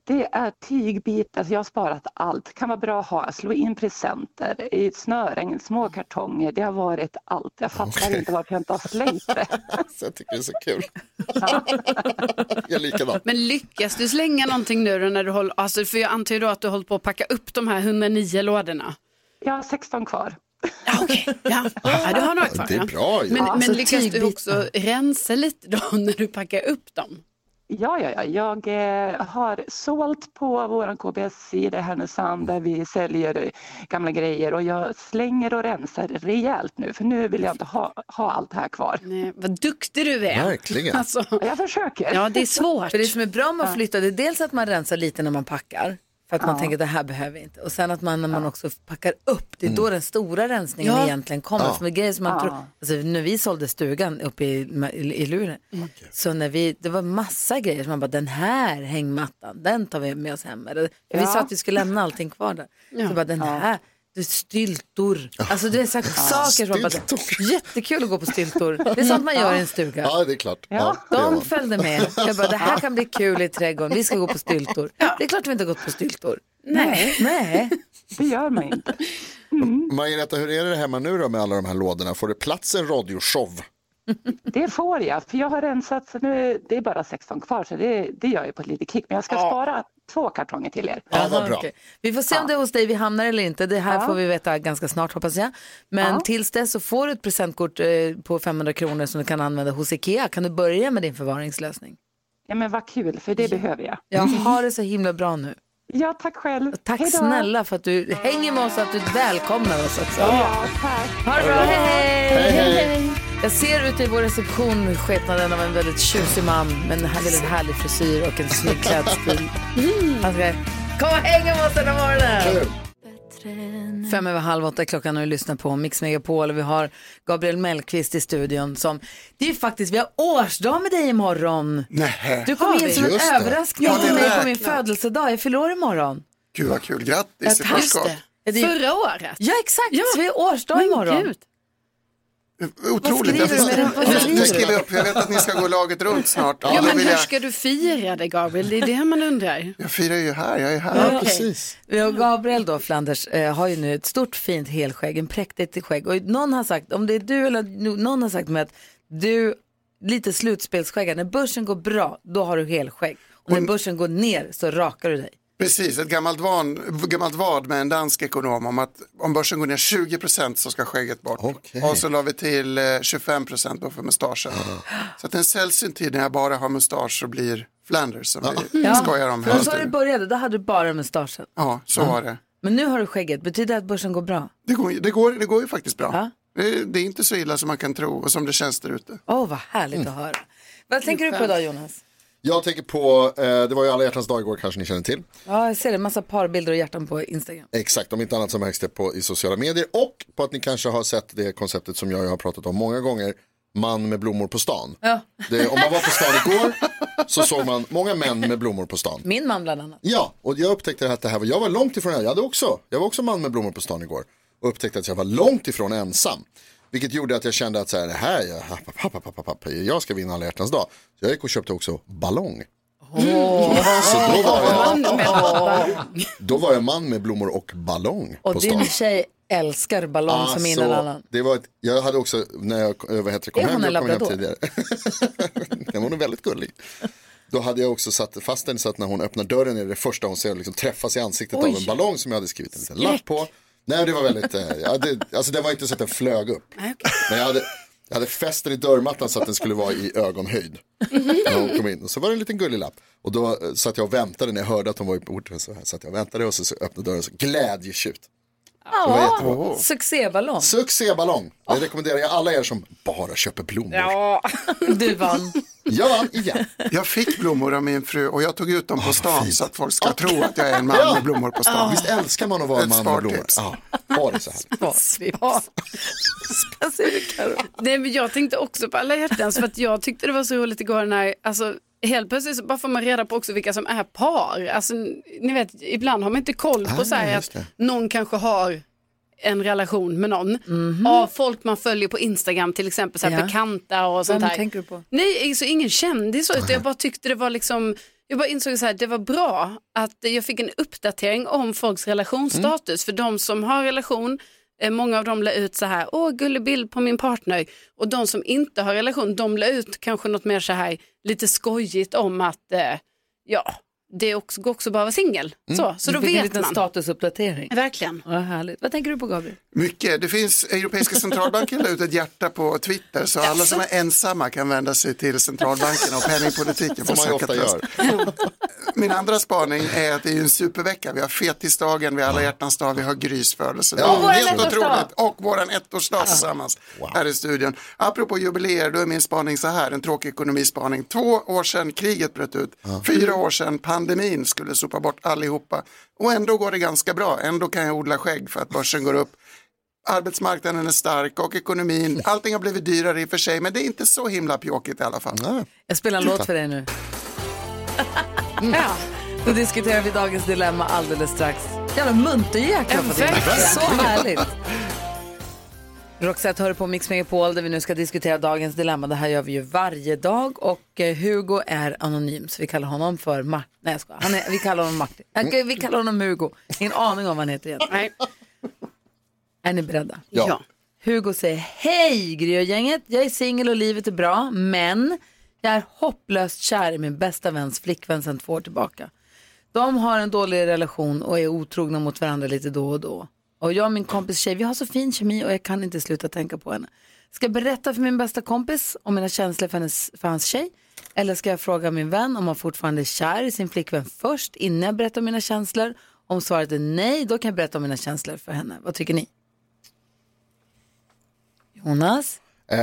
K: det är tygbitar, så jag har sparat allt. Kan vara bra att ha, slå in presenter i snören, små kartonger, det har varit allt. Jag fattar
C: Mm. Okej.
K: inte varför jag inte har slängt det.
C: Så jag tycker det är så kul. (laughs) jag är likadan.
B: Men lyckas du slänga någonting nu då när du håller, alltså, för jag antar ju då att du har hållit på att packa upp de här 109 lådorna.
K: Jag har 16 kvar.
B: Ja, du har några kvar.
K: Det är
B: ja.
K: bra ju.
B: Men,
K: Ja,
A: alltså,
K: så
B: men lyckas du
K: tygbitar.
B: också rensa lite då (laughs) när du packar upp dem?
K: Ja, ja, ja. Jag eh, har sålt på vår KBS i Härnösand där vi säljer eh, gamla grejer och jag slänger och rensar rejält nu för nu vill jag inte ha, ha allt här kvar.
B: Nej, vad duktig du är. (laughs)
C: Verkligen.
B: Alltså.
K: Jag försöker.
A: För det som är bra med att flytta det är dels att man rensar lite när man packar. För att man
K: Ja.
A: tänker det här behöver vi inte. Och sen att man när man också packar upp, det är
C: Mm.
A: då den stora rensningen
K: Ja.
A: egentligen kommer.
K: Ja.
A: För med grejer som man
K: Ja.
A: tror, alltså, när vi sålde stugan uppe i, i, i Luleå, så när vi, det var massa grejer som man bara, den här hängmattan, den tar vi med oss hem. Eller, för Vi
K: Ja.
A: sa att vi skulle lämna allting kvar där. Så bara, den här, det är styltor. Alltså det är så här saker som man bara, jättekul att gå på styltor. Det är sånt man gör i en stuga.
C: Ja, det är klart.
A: Ja,
C: det gör
A: de
C: man.
A: följde med. Jag bara, det här kan bli kul i trädgården. Vi ska gå på styltor. Det är klart vi inte har gått på styltor. Nej. Nej.
K: Det gör man inte.
C: Margareta, hur är det hemma nu då med alla de här lådorna? Får det plats en radioshow?
K: Det får jag, för jag har rensat så nu, det är bara 16 kvar så det, det gör jag på ett litet kick. Men jag ska spara två kartonger till er.
A: Ja, vad bra. okej. Vi får se om det är hos dig vi hamnar eller inte. Det här
K: Ja.
A: får vi veta ganska snart hoppas jag. Men
K: Ja.
A: tills dess så får du ett presentkort eh, på 500 kronor som du kan använda hos Ikea. Kan du börja med din förvaringslösning?
K: Ja, men vad kul, för det behöver jag.
A: Ja, ha det så himla bra nu.
K: Ja, tack själv.
A: Tack
K: Hej då.
A: snälla för att du hänger med oss och att du välkomnar oss också.
K: Ja, tack.
A: Ha det bra, hej hej!
K: Hej, hej.
A: Jag ser ute i vår reception skepnaden av en väldigt tjusig man med en väldigt härlig frisyr och en snygg klädstil.
B: Mm.
A: Alltså, Han ska komma och hänga med oss den här morgonen! Fem över halv åtta är klockan och du lyssnar på Mix Megapol och vi har Gabriel Mellqvist i studion som, det är ju faktiskt, vi har årsdag med dig imorgon.
J: Nej.
A: Du kom in som en
J: Just det.
A: överraskning
J: Ja, det
A: till mig på
J: räknas.
A: min födelsedag, jag fyller år imorgon.
J: Gud vad kul, grattis i
A: tack.
J: förskott.
A: Är det-
B: Förra året?
A: Ja exakt, så vi har årsdag imorgon.
B: Gud.
J: Otroligt. Jag,
B: Vad skriver du med den? Vad
J: jag, jag
B: skriver du?
J: skriver upp, jag vet att ni ska gå laget runt snart.
B: Ja,
J: då
B: men
J: vill
B: hur
J: jag,
B: ska du fira det Gabriel? Det är det man undrar.
J: jag firar ju här, jag är här.
A: okej. Vi och Gabriel då, Flanders, eh, har ju nu ett stort fint helskägg, en präktigt skägg. Och någon har sagt, om det är du eller no- någon har sagt med att du, lite slutspelsskägg, när börsen går bra, då har du helskägg. Och när börsen går ner så rakar du dig.
J: Precis, ett gammalt, van, gammalt vad med en dansk ekonom om att om börsen går ner 20% så ska skägget bort. Och så la vi till eh, 25% då för
A: (gasps)
J: mustaschen. Så att en sällsynt tid när jag bara har mustasch så blir Flanders som vi skojar om.
A: Och så har du började, då hade du bara mustaschen.
J: Ja, så var det.
A: Men nu har du skägget, betyder det att börsen går bra?
J: Det går, det går, det går ju faktiskt bra. Det, det är inte så illa som man kan tro och som det känns där ute.
A: Åh, vad härligt
J: Mm.
A: att höra. Vad tänker du på idag Jonas?
C: Jag tänker på, eh, det var ju alla hjärtans dag igår kanske ni känner till.
A: Ja, jag ser det, massa parbilder och hjärtan på Instagram.
C: Exakt, om inte annat så märks det på, i sociala medier och på att ni kanske har sett det konceptet som jag har pratat om många gånger, man med blommor på stan.
A: Ja.
C: Det, om man var
A: (laughs)
C: på stan igår så såg man många män med blommor på stan.
A: Min man bland annat.
C: Ja, och jag upptäckte att det här var, jag var långt ifrån, jag hade också, jag var också man med blommor på stan igår och upptäckte att jag var långt ifrån ensam. Vilket gjorde att jag kände att så här, det här, jag, happ, happ, happ, happ, happ, jag ska vinna alla hjärtans dag. Så jag gick och köpte också ballong. Så då var
B: Mm.
C: jag, då var jag man med blommor och ballong på
A: Och
C: stan.
A: din tjej älskar ballong som
C: Alltså,
A: ingen annan.
C: Det var ett, jag hade också, när jag eh, vad heter, det, kom
A: Är
C: hem,
A: hon en
C: jag kom hem
A: labrador?
C: tidigare. (laughs) den var nog väldigt gullig. Då hade jag också satt fast den så att när hon öppnar dörren är det första hon ser liksom träffas i ansiktet
J: Oj.
C: av en ballong som jag hade skrivit en liten
J: Skräck.
C: lapp på. Nej, det var väldigt, eh, ja, det, alltså det var inte så att den flög upp. Men jag hade, jag hade fäst den i dörrmattan så att den skulle vara i ögonhöjd. När hon kom in och så var det en liten gullig lapp. Och då eh, satt jag och väntade när jag hörde att hon var i porten så här. Satt jag och väntade och så, så öppnade dörren så glädjetjut. Det var jättebra.
A: Ja, succéballong.
C: Succéballong. Det rekommenderar jag alla er som bara köper blommor.
A: Ja. (laughs) Du vann.
C: Jag vann igen. Ah,
J: Jag fick blommor av min fru och jag tog ut dem på stan så att folk ska tro att jag är en man med blommor på stan.
C: Visst älskar man att vara en
J: Ett
C: man med blommor?
J: spartips.
C: Ja, ha det så här.
B: Nej, men jag tänkte också på alla hjärtans för att jag tyckte det var så roligt igår när, alltså helt plötsligt så bara får man reda på också vilka som är par. Alltså, ni vet, ibland har man inte koll på
L: Ah,
B: så här
L: just
B: att någon kanske har en relation med någon.
L: Mhm.
B: Av folk man följer på Instagram till exempel, så här
A: Ja.
B: bekanta och sånt
A: Vem
B: där.
A: tänker du på?
B: Nej, så ingen kändis så, utan jag bara tyckte det var liksom, jag bara insåg så här, det var bra att jag fick en uppdatering om folks relationsstatus,
A: Mm.
B: för de som har relation, eh, många av dem la ut så här, åh gullig bild på min partner, och de som inte har relation, de la ut kanske något mer så här, lite skojigt om att, eh, ja, det också, går också bara att vara singel. Så, så
A: Du
B: då
A: fick en
B: vet
A: liten
B: man.
A: statusuppdatering.
B: Verkligen.
A: Mm. Vad härligt. Vad tänker du på Gabriel?
J: Mycket. Det finns Europeiska centralbanken la ut ett hjärta på Twitter så alla som är ensamma kan vända sig till centralbanken och penningpolitiken.
C: Som man ju ofta gör.
J: Min andra spaning är att det är ju en supervecka. Vi har fetisdagen, vi har alla hjärtans dag, vi har Grys födelsedag.
C: Ja, och våran
J: Helt
C: ettårsdag.
J: otroligt. Och våran ettårsdag tillsammans här i studion. Apropå jubileer, då är min spaning så här, en tråkig ekonomispaning. Två år sedan kriget bröt ut, fyra år sedan pandemin skulle sopa bort allihopa. Och ändå går det ganska bra, ändå kan jag odla skägg för att börsen går upp. Arbetsmarknaden är stark och ekonomin, allting har blivit dyrare i och för sig, men det är inte så himla pjåkigt i alla fall.
A: Jag spelar en låt för dig nu. (laughs) Ja. Då diskuterar vi dagens dilemma alldeles strax. Jävla muntergäkla på det.
L: Verkligen.
A: Så härligt. Roxette hör på Mix Megapol där vi nu ska diskutera dagens dilemma. Det här gör vi ju varje dag och eh, Hugo är anonym så vi kallar honom för Martin. Nej jag skojar. Han är, vi kallar honom Martin. Okej, Vi kallar honom Hugo. Ingen aning om vad han heter egentligen. Är ni beredda?
L: Ja.
A: Hugo säger hej Gryogänget, jag är singel och livet är bra, men jag är hopplöst kär i min bästa väns flickvän sedan två år tillbaka. De har en dålig relation och är otrogna mot varandra lite då och då. Och jag och min kompis tjej, vi har så fin kemi och jag kan inte sluta tänka på henne. Ska jag berätta för min bästa kompis om mina känslor för, hennes, för hans tjej? Eller ska jag fråga min vän om han fortfarande är kär i sin flickvän först innan jag berättar om mina känslor? Om svaret är nej, då kan jag berätta om mina känslor för henne. Vad tycker ni? Jonas?
C: Eh,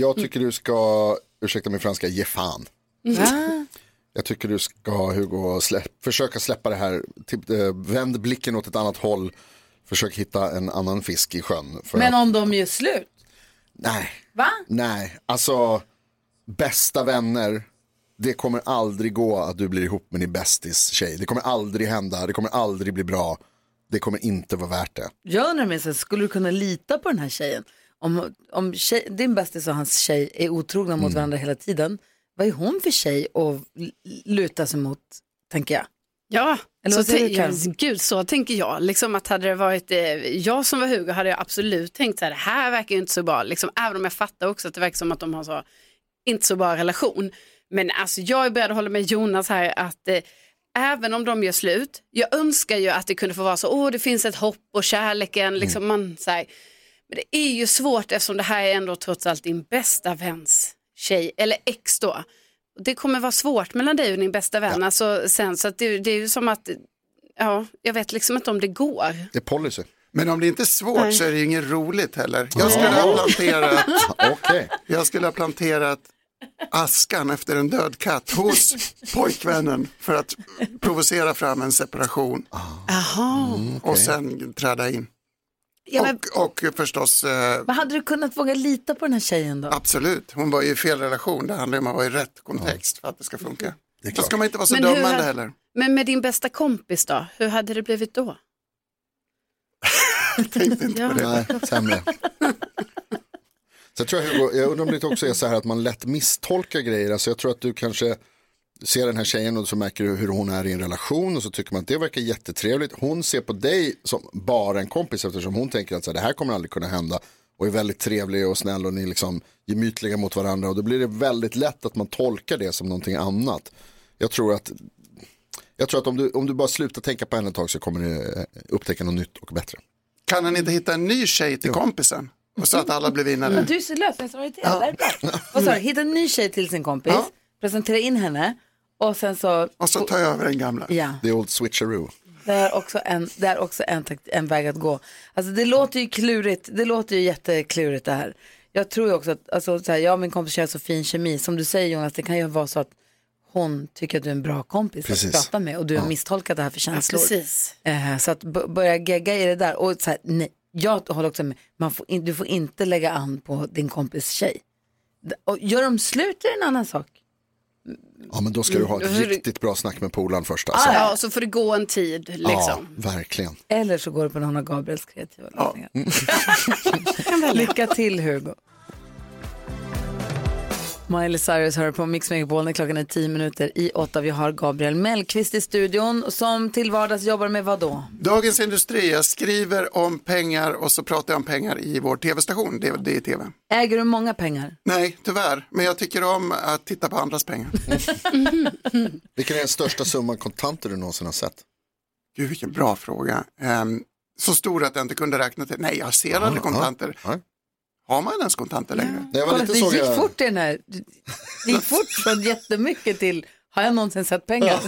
C: jag tycker du ska, ursäkta min franska, ge fan.
A: Va?
C: Jag tycker du ska Hugo släpp, försöka släppa det här, typ, eh, vänd blicken åt ett annat håll, försök hitta en annan fisk i sjön. För
A: Men
C: att,
A: om de gör slut?
C: nej,
A: Va?
C: nej, alltså bästa vänner, det kommer aldrig gå att du blir ihop med din bästis tjej. Det kommer aldrig hända, det kommer aldrig bli bra, det kommer inte vara värt det.
A: Jag undrar med sig, skulle du kunna lita på den här tjejen? Om, om tjej, din bästis och hans tjej är otrogna
J: Mm.
A: mot varandra hela tiden, vad är hon för tjej att l- luta sig mot, tänker jag?
B: Ja,
A: Eller
B: så
A: vad säger
B: te-
A: du, Karin?
B: gud så tänker jag. Liksom att hade det varit eh, jag som var Hugo hade jag absolut tänkt så här, det här verkar ju inte så bra. Liksom, även om jag fattar också att det verkar som att de har så, inte så bra relation. Men alltså jag är beredd att hålla med Jonas här att eh, även om de gör slut, jag önskar ju att det kunde få vara så, åh det finns ett hopp och kärleken,
A: Mm.
B: liksom man så här, men det är ju svårt eftersom det här är ändå trots allt din bästa väns tjej, eller ex då. Det kommer vara svårt mellan dig och din bästa vän. Alltså, sen, så att det, det är ju som att, ja, jag vet liksom inte om det går.
C: Det är policy.
J: Men om det inte är svårt
B: Nej.
J: så är det ju inget roligt heller. Jag skulle ha planterat,
C: (laughs)
J: jag skulle ha planterat askan efter en död katt hos
C: (laughs)
J: pojkvännen för att provocera fram en separation
C: Ah,
B: Jaha.
A: Mm.
J: och sen träda in.
A: Ja, men,
J: Och förstås, eh,
A: vad hade du kunnat våga lita på den här tjejen då?
J: absolut, hon var ju i fel relation, det handlar ju om att vara i rätt kontext för att det ska funka. Då ska man inte vara så
B: Men hur
J: dömande
B: hade-
J: heller.
B: Men med din bästa kompis då, hur hade det blivit
A: (laughs)
B: då?
C: Nej, sämre. Så jag, tror jag, Hugo, jag undrar om det inte också är så här att man lätt misstolkar grejer. Alltså jag tror att du kanske ser den här tjejen och så märker du hur hon är i en relation och så tycker man att det verkar jättetrevligt. Hon ser på dig som bara en kompis eftersom hon tänker att så här, det här kommer aldrig kunna hända och är väldigt trevlig och snäll och ni är liksom gemytliga mot varandra och då blir det väldigt lätt att man tolkar det som någonting annat. Jag tror att, jag tror att om, du, om du bara slutar tänka på henne ett tag så kommer du eh, upptäcka något nytt och bättre.
J: Kan han inte hitta en ny tjej till kompisen? Och så att alla blir
A: Men
J: vinnare.
A: Du ser lösningsorienterad, det här är bra.
J: (laughs)
A: Vad sa du, hitta en ny tjej till sin kompis, presentera in henne och sen så...
J: Och så tar jag över den gamla.
A: Ja.
C: The old switcheroo.
A: Det är också, en, det är också en, takt, en väg att gå. Alltså det låter ju klurigt, det låter ju jätteklurigt det här. Jag tror ju också att, alltså, så här, jag och min kompis kör så fin kemi, som du säger Jonas, det kan ju vara så att hon tycker att du är en bra kompis
E: Precis.
A: att prata med och du har
E: Ja.
A: misstolkat det här för känslor.
E: Ja, precis.
A: Eh, så att b- börja gegga i det där och så här, nej, jag håller också med, man får in, du får inte lägga an på din kompis tjej. D- Och gör de slut är en annan sak.
C: Ja men då ska du ha
A: Mm,
C: ett
A: då får du-
C: riktigt bra snack med polaren först alltså.
B: Alltså, ja, och så får det gå en tid
C: Ja,
B: liksom.
C: verkligen.
A: Eller så går du på någon av Gabriels kreativa lösningar. Lycka till Hugo. Miley Cyrus hör på Mix Megapol när klockan är 10 minuter i åtta. Vi har Gabriel Mellqvist i studion som till vardags jobbar med vad då?
J: Dagens Industri, jag skriver om pengar och så pratar jag om pengar i vår tv-station, det, det är tv.
A: Äger du
J: (laughs)
A: många pengar?
J: Nej, tyvärr, men jag tycker om att titta på andras pengar.
C: Vilken är den största summan kontanter du någonsin har sett?
J: Gud, vilken bra fråga. Ehm, så stor att jag inte kunde räkna till, nej jag ser aldrig kontanter. Har man ens kontanter längre?
C: När jag
A: Kolla, det gick fort i den här. Det gick fort från jättemycket till har jag någonsin sett pengar?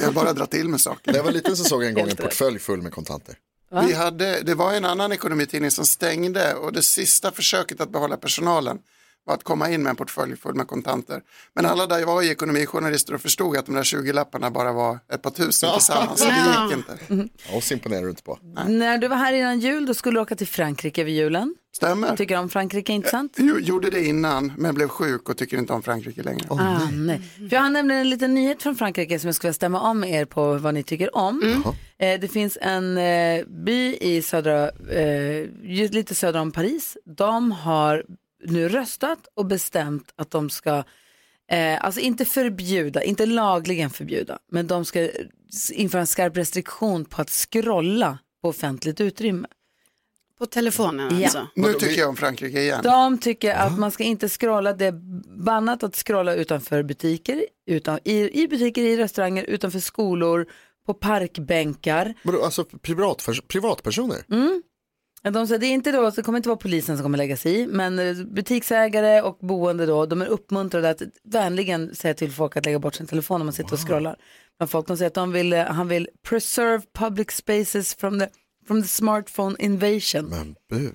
J: Jag bara drar till med saker.
C: När jag var liten så såg jag en gång en
J: Helt rätt.
C: portfölj full med kontanter.
A: Va?
J: Vi hade, det var en annan ekonomitidning som stängde och det sista försöket att behålla personalen var att komma in med en portfölj full med kontanter. Men alla där jag var i ekonomijournalister och förstod att de där 20-lapparna bara var ett par tusen tillsammans. Så det gick inte.
C: Ja, oss imponerar du inte på.
A: (laughs) När du var här innan jul då skulle du åka till Frankrike över julen.
J: Stämmer.
A: Vad tycker du om Frankrike? Intressant?
J: Jag gjorde det innan men blev sjuk och tycker inte om Frankrike längre.
A: ah, nej. För jag har nämligen en liten nyhet från Frankrike som jag skulle vilja stämma av med er på vad ni tycker om.
J: Mm.
A: Eh, det finns en eh, by i södra, eh, ju- lite söder om Paris. De har nu röstat och bestämt att de ska, eh, alltså inte förbjuda, inte lagligen förbjuda, men de ska s- införa en skarp restriktion på att scrolla på offentligt utrymme.
B: På telefonen
A: Ja.
B: alltså.
J: Nu tycker jag om Frankrike igen.
A: De tycker att man ska inte scrolla, det är bannat att scrolla utanför butiker, utan, i, i butiker, i restauranger, utanför skolor, på parkbänkar.
L: Vadå, Alltså privatpers- privatpersoner?
A: Mm. De säger, det, är inte då, det kommer inte vara polisen som kommer lägga sig i, men eh, butiksägare och boende då, de är uppmuntrade att vänligen säga till folk att lägga bort sin telefon om man sitter och scrollar. Men folk de säger att de vill, eh, han vill preserve public spaces from the, from the smartphone invasion.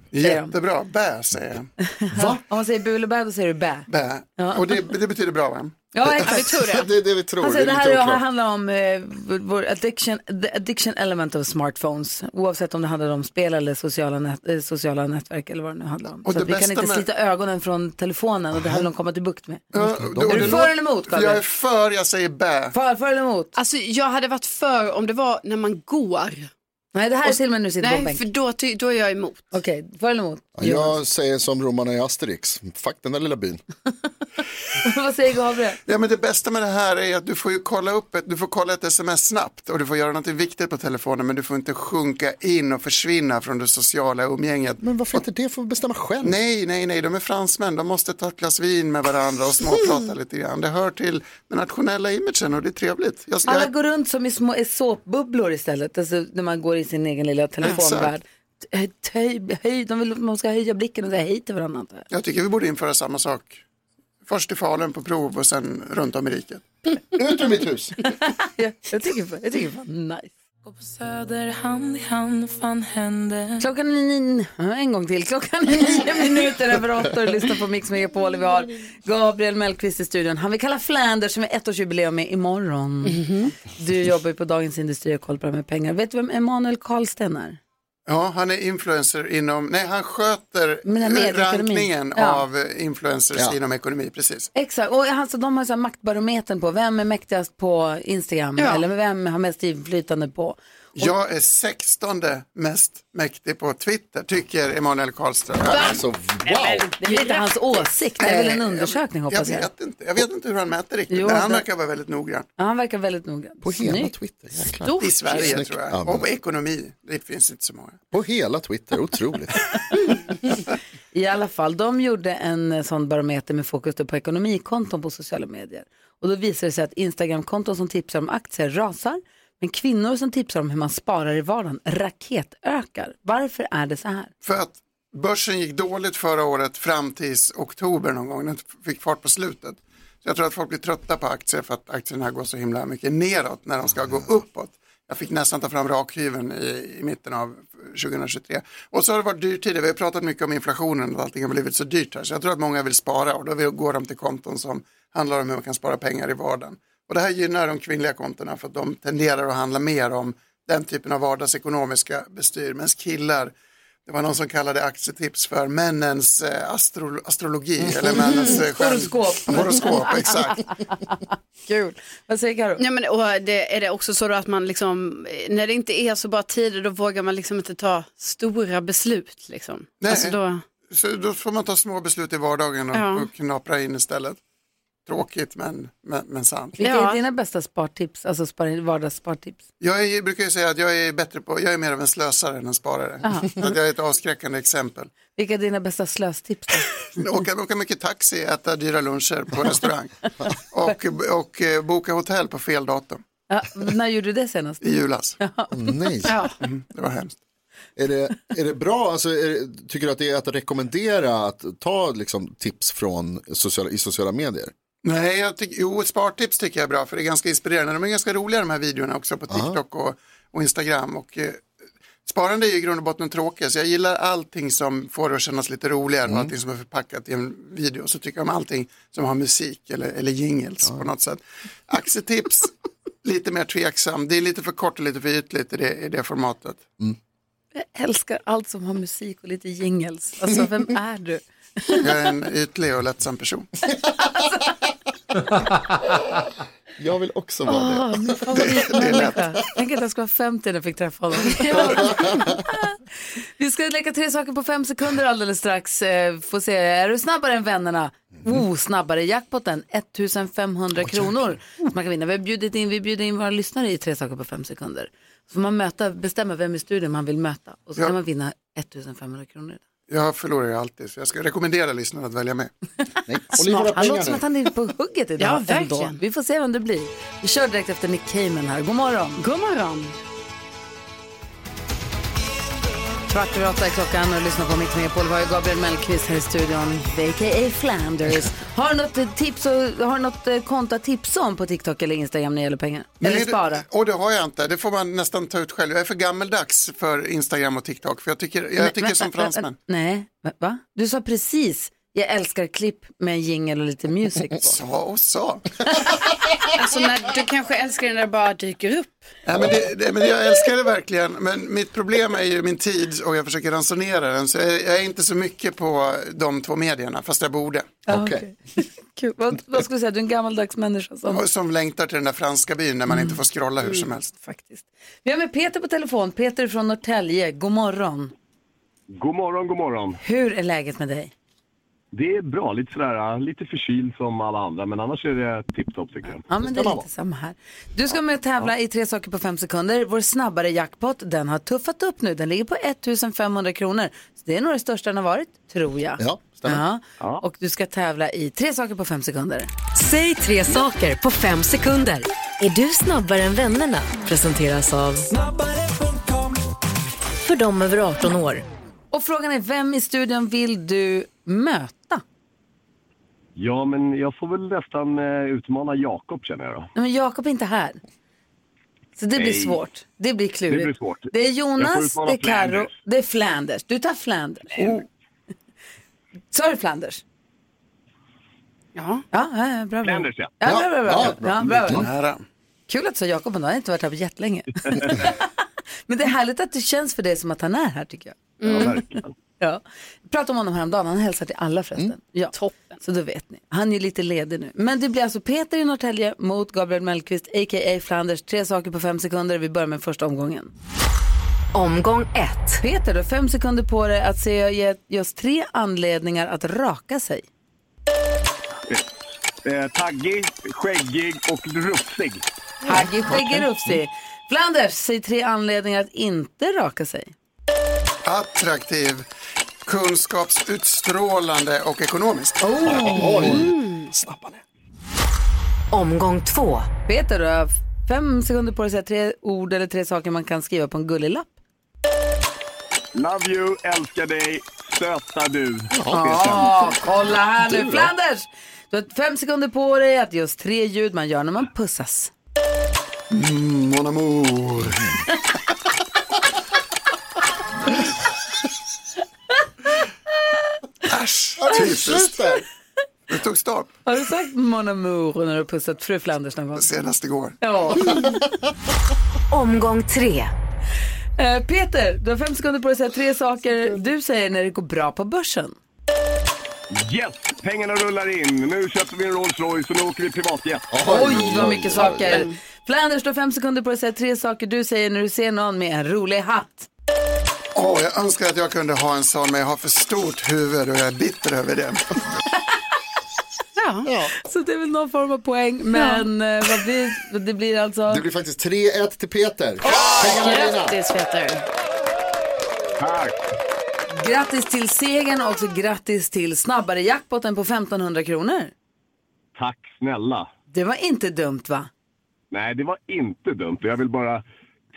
J: Jättebra, bä säger jag.
A: Va? Om man säger bu eller bä, då säger du bä.
J: Bä.
A: Ja.
J: Och det, det betyder bra va?
A: Ja, exakt.
L: det är det vi tror.
J: (laughs)
A: Alltså,
J: det
A: det,
J: är
A: här,
J: lite
A: det här
J: oklart.
A: handlar om eh, vår addiction, the addiction element of smartphones. Oavsett om det handlar om spel eller sociala, nät, eh, sociala nätverk eller vad det nu handlar om.
J: Och
A: så
J: det
A: att vi kan
J: bästa
A: inte
J: med-
A: slita ögonen från telefonen och det handlar om att komma till bukt med.
J: och
A: är
J: det låter-
A: du för eller emot? Gabriel?
J: Jag är för, jag säger bä.
A: För, för eller emot?
B: Alltså jag hade varit för om det var när man går.
A: Nej, det här är till och med nu sitter på en
B: Nej,
A: bänk.
B: för då, ty- då är jag emot.
A: Okej, för eller emot?
L: Jag säger som romarna i Asterix, fuck den där lilla byn.
A: (laughs) Vad säger Gabriel?
J: Ja, men det bästa med det här är att du får ju kolla upp ett, du får kolla ett sms snabbt och du får göra något viktigt på telefonen men du får inte sjunka in och försvinna från det sociala umgänget.
L: Men varför inte det får bestämma själv?
J: Nej, nej, nej, de är fransmän, de måste ta ett glas vin med varandra och småprata
A: Mm.
J: lite grann. Det hör till den nationella imagen och det är trevligt. Jag,
A: Alla
J: jag,
A: går runt som i små i såpbubblor istället, alltså, när man går i sin egen lilla telefonvärld. Höj, höj, höj, de vill att man ska höja blicken och säga hej till varandra. antar jag.
J: (laughs) jag tycker vi borde införa samma sak. Först i Falun på prov och sen runt om i riket.
L: Ut ur mitt hus!
A: jag, jag tycker jag tycker fan nice.
M: Söder hand i hand, fan hände
A: Klockan är nio, ja, en gång till. Klockan är nio minuter över åtta och lyssnar på Mix Megapol. Vi har Gabriel Mellqvist i studion. Han vill kalla Flanders som är ettårsjubileum med imorgon. Du jobbar ju på Dagens Industri och kollar på det här med pengar. Vet du vem Emanuel Karlsten är?
J: Ja, han är influencer inom, nej han sköter
A: Men den här medieekonomin.
J: rankningen
A: Ja.
J: av eh, influencers
A: Ja.
J: inom ekonomi, precis.
A: Exakt, och alltså, de har så här maktbarometern på vem är mäktigast på Instagram
J: Ja.
A: eller vem har mest inflytande på.
J: Jag är 16 mest mäktig på Twitter, tycker Emanuel Karlström.
L: Alltså, wow!
A: Det är väl inte hans åsikt, det är väl en undersökning hoppas jag.
J: Jag vet inte, jag vet inte hur han mäter riktigt,
A: Jo,
J: men han
A: det-
J: verkar vara väldigt noggrann.
A: Ja, han verkar väldigt noggrann.
L: På hela
A: Snyggt.
L: Twitter, jäklar.
A: Stort.
J: I Sverige
L: Snyggt.
J: tror jag,
L: Ja, men-
J: och på ekonomi, det finns inte så många.
L: På hela Twitter, otroligt.
A: I alla fall, de gjorde en eh, sån barometer med fokus då på ekonomikonton på sociala medier. Och då visade det sig att Instagramkonton som tipsar om aktier rasar, men kvinnor som tipsar om hur man sparar i vardagen raketökar. Varför är det så här?
J: För att börsen gick dåligt förra året fram tills oktober någon gång, den fick fart på slutet. Så jag tror att folk blir trötta på aktier för att aktierna går så himla mycket neråt när de ska gå uppåt. Jag fick nästan ta fram rakhyveln i, i mitten av 2023. Och så har det varit dyrt tidigare, vi har pratat mycket om inflationen och allting har blivit så dyrt här. Så jag tror att många vill spara och då vill- går de till konton som handlar om hur man kan spara pengar i vardagen. Och det här gynnar de kvinnliga kontona för att de tenderar att handla mer om den typen av vardagsekonomiska bestyr. Medan killar det var någon som kallade aktietips för männens eh, astro astrologi. Eller männens, eh, stjärn-
A: Horoskop.
J: Horoskop, exakt.
A: Kul. Vad säger Karo?
B: Ja, men, och det, är det också så då att man liksom, eh, när det inte är så bra tider då vågar man liksom inte ta stora beslut liksom.
J: Nej.
B: Alltså då,
J: Så då får man ta små beslut i vardagen och,
B: Ja.
J: och knapra in istället. Tråkigt men, men, men sant.
A: Vilka är dina bästa spartips, alltså spar- vardagsspartips?
J: Jag är, brukar ju säga att jag är, bättre på, jag är mer av en slösare än en sparare.
A: Aha.
J: Så att jag är ett avskräckande exempel.
A: Vilka är dina bästa slöstips? Då?
J: Åka, åka mycket taxi, äta dyra luncher på restaurang och, och eh, boka hotell på fel datum
A: Ja, när gjorde du det senast?
J: i julas.
L: Nej.
J: Mm, (laughs) det var hemskt.
L: Är det, är det bra, alltså, är det, tycker du att det är att rekommendera att ta liksom, tips från sociala, i sociala medier?
J: Nej, jag tycker, jo, spartips tycker jag är bra för det är ganska inspirerande. De är ganska roliga de här videorna också på TikTok och, och Instagram. Och, eh, sparande är ju i grund och botten tråkigt så jag gillar allting som får det att kännas lite roligare och allting som är förpackat i en video. Så tycker jag om allting som har musik eller, eller jingles på något sätt. Aktietips, (laughs) lite mer tveksam. Det är lite för kort och lite för ytligt i det, i det formatet.
A: Jag älskar allt som har musik och lite jingels. Alltså, vem är du?
J: Jag är en ytlig och lättsam person.
L: (laughs) Jag vill också
A: Åh, Ah, min favoritmänniska. Tänk att jag skulle vara 50 när jag fick träffa honom. Vi ska leka tre saker på fem sekunder alldeles strax. Eh, Får se, är du snabbare än vännerna?
J: Mm.
A: Oh, snabbare jackpotten,
J: Oh.
A: 1500 kronor som man kan vinna. Vi har bjudit in, vi bjuder in våra lyssnare i tre saker på fem sekunder. Så får man möta, bestämma vem i studion man vill möta och så
J: Ja.
A: kan man vinna 1500 kronor.
J: Jag förlorar ju alltid, så jag ska rekommendera lyssnarna att välja med.
A: Smart. Han låter som att han är på hugget idag.
J: Ja,
A: ändå.
J: verkligen.
A: Vi får se vem det blir. Vi kör direkt efter Nick Cayman här. God morgon. God morgon. Kvart över åtta är klockan och lyssnar på Mix Megapol. Vi har ju Gabriel Mellqvist här i studion, a.k.a. Flanders. Har du något, eh, tips och, har du något eh, konto att tipsa om på TikTok eller Instagram när det gäller pengar? eller
J: det-
A: spara?
J: Och det har jag inte, det får man nästan ta ut själv. Jag är för gammeldags för Instagram och TikTok, för jag tycker, jag
A: Nej,
J: tycker
A: vänta,
J: som
A: vänta,
J: fransmän.
A: (laughs) Nej, va- va? Du sa precis, jag älskar klipp med jingel och lite
J: (laughs)
A: music på.
J: Sa och sa.
B: (laughs) Alltså när du kanske älskar den där bara dyker upp.
J: Nej, men det, det, men jag älskar det verkligen, men mitt problem är ju min tid och jag försöker ransonera den. Så jag, jag är inte så mycket på de två medierna, fast jag borde.
A: Ja, Ah, okej. Kul. Vad, vad skulle du säga, du är en gammaldags människa som...
J: Och Som längtar till den där franska byn där man inte får scrolla hur som
A: Mm,
J: helst.
A: Faktiskt. Vi har med Peter på telefon, Peter från Norrtälje, god morgon.
N: God morgon, god morgon.
A: Hur är läget med dig?
N: Det är bra, lite sådär, äh, lite förkyld som alla andra, men annars är det tipptopp tycker jag.
A: Ja men det är lite samma här. Du ska med och tävla i tre saker på fem sekunder. Vår snabbare jackpot, den har tuffat upp nu. Den ligger på 1500 kronor. Så det är nog det största den har varit, tror jag.
L: Ja,
A: stämmer. Ja. Och du ska tävla i tre saker på fem sekunder.
O: Säg tre saker på fem sekunder. Är du snabbare än vännerna? Presenteras av För dem över 18 år.
A: Och frågan är, vem i studion vill du möta?
N: Ja, men jag får väl nästan eh, utmana Jakob känner jag då.
A: Nej, men Jakob är inte här. Så det blir
N: Nej.
A: svårt. Det blir klurigt.
N: Det blir svårt.
A: Det är
N: Jag får
A: Jonas,
N: utmana
A: det är Karo,
N: Flanders.
A: det är Flanders. Du tar Flanders. Oh. Sa du Flanders? Ja. Ja, ja, bra, bra.
N: Flanders, ja.
A: Ja, bra, bra, bra.
N: Ja, bra. äh,
A: Ja, bra, bra.
J: Nära.
A: Kul att du sa Jakob ändå, han har inte varit här på jättelänge. (laughs) Men det är härligt att det känns för dig som att han är här tycker jag. Mm.
N: Ja,
A: Ja. Jag pratade om honom häromdagen, han hälsar till alla förresten. Ja. Toppen. Så då vet ni. Han är lite ledig nu. Men det blir alltså Peter i Norrtälje mot Gabriel Mellqvist, a.k.a. Flanders. Tre saker på fem sekunder. Vi börjar med första omgången. Omgång ett. Peter, du har fem sekunder på dig att se, ge, ge oss tre anledningar att raka sig.
N: Eh, taggig, skäggig och rufsig.
A: Haggy, skäggig, rufsig. Flanders, säg tre anledningar att inte raka sig.
J: Attraktiv, kunskapsutstrålande och ekonomisk.
A: Oh.
J: Snabba ner.
A: Omgång två. Peter, du har fem sekunder på dig att säga tre ord eller tre saker man kan skriva på en gullig lapp.
N: Love you, älskar dig, söta du.
A: Ja, kolla här nu. Flanders! Du har fem sekunder på dig att ge oss tre ljud man gör när man pussas.
J: Mm, mon amour. Äsch,
A: Ja, det är slut
J: typiskt. Det tog stopp.
A: Har du sagt mon amour när du har pussat fru Flanders någon gång?
J: Senast igår.
A: Ja. (laughs) Omgång tre. Eh, Peter, du har fem sekunder på dig att säga tre saker du säger när det går bra på börsen.
N: Yes, pengarna rullar in. Nu köper vi en Rolls Royce och nu åker vi privatjet.
A: Oj, vad mycket saker. Flanders, du har fem sekunder på dig att säga tre saker du säger när du ser någon med en rolig hatt.
J: Åh, jag önskar att jag kunde ha en sån, men jag har för stort huvud och jag är bitter över det.
A: Ja. Så det är väl någon form av poäng, men eh, vad blir, det blir alltså...
L: Det blir faktiskt 3-1 till Peter.
A: Grattis Peter!
N: Tack.
A: Grattis till segern och också grattis till snabbare jackpotten på 1500 kronor.
N: Tack snälla.
A: Det var inte dumt va?
N: Nej, det var inte dumt. Jag vill bara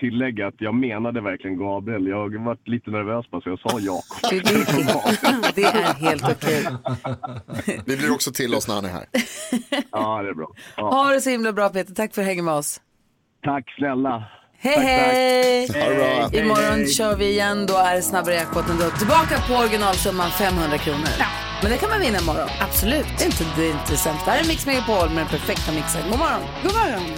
N: tillägga att jag menade verkligen Gabriel. Jag varit lite nervös bara så jag sa Jakob. (laughs)
A: Det är (laughs) helt okej.
L: Vi blir också till oss när han är här.
N: Ja, det är bra.
A: Ha det så himla bra Peter, tack för att du hänger med oss.
N: Tack snälla.
A: Hej
N: Tack, tack.
A: hej!
N: Ha det bra. Hej,
A: Imorgon
N: hej.
A: kör vi igen, då är det snabbare jackpotten då. Tillbaka på originalsumman 500 kronor. Men det kan man vinna imorgon. Absolut. Det är inte, det är inte sämst. Det här är Mix Megapol med den perfekta mixen. God morgon! God morgon!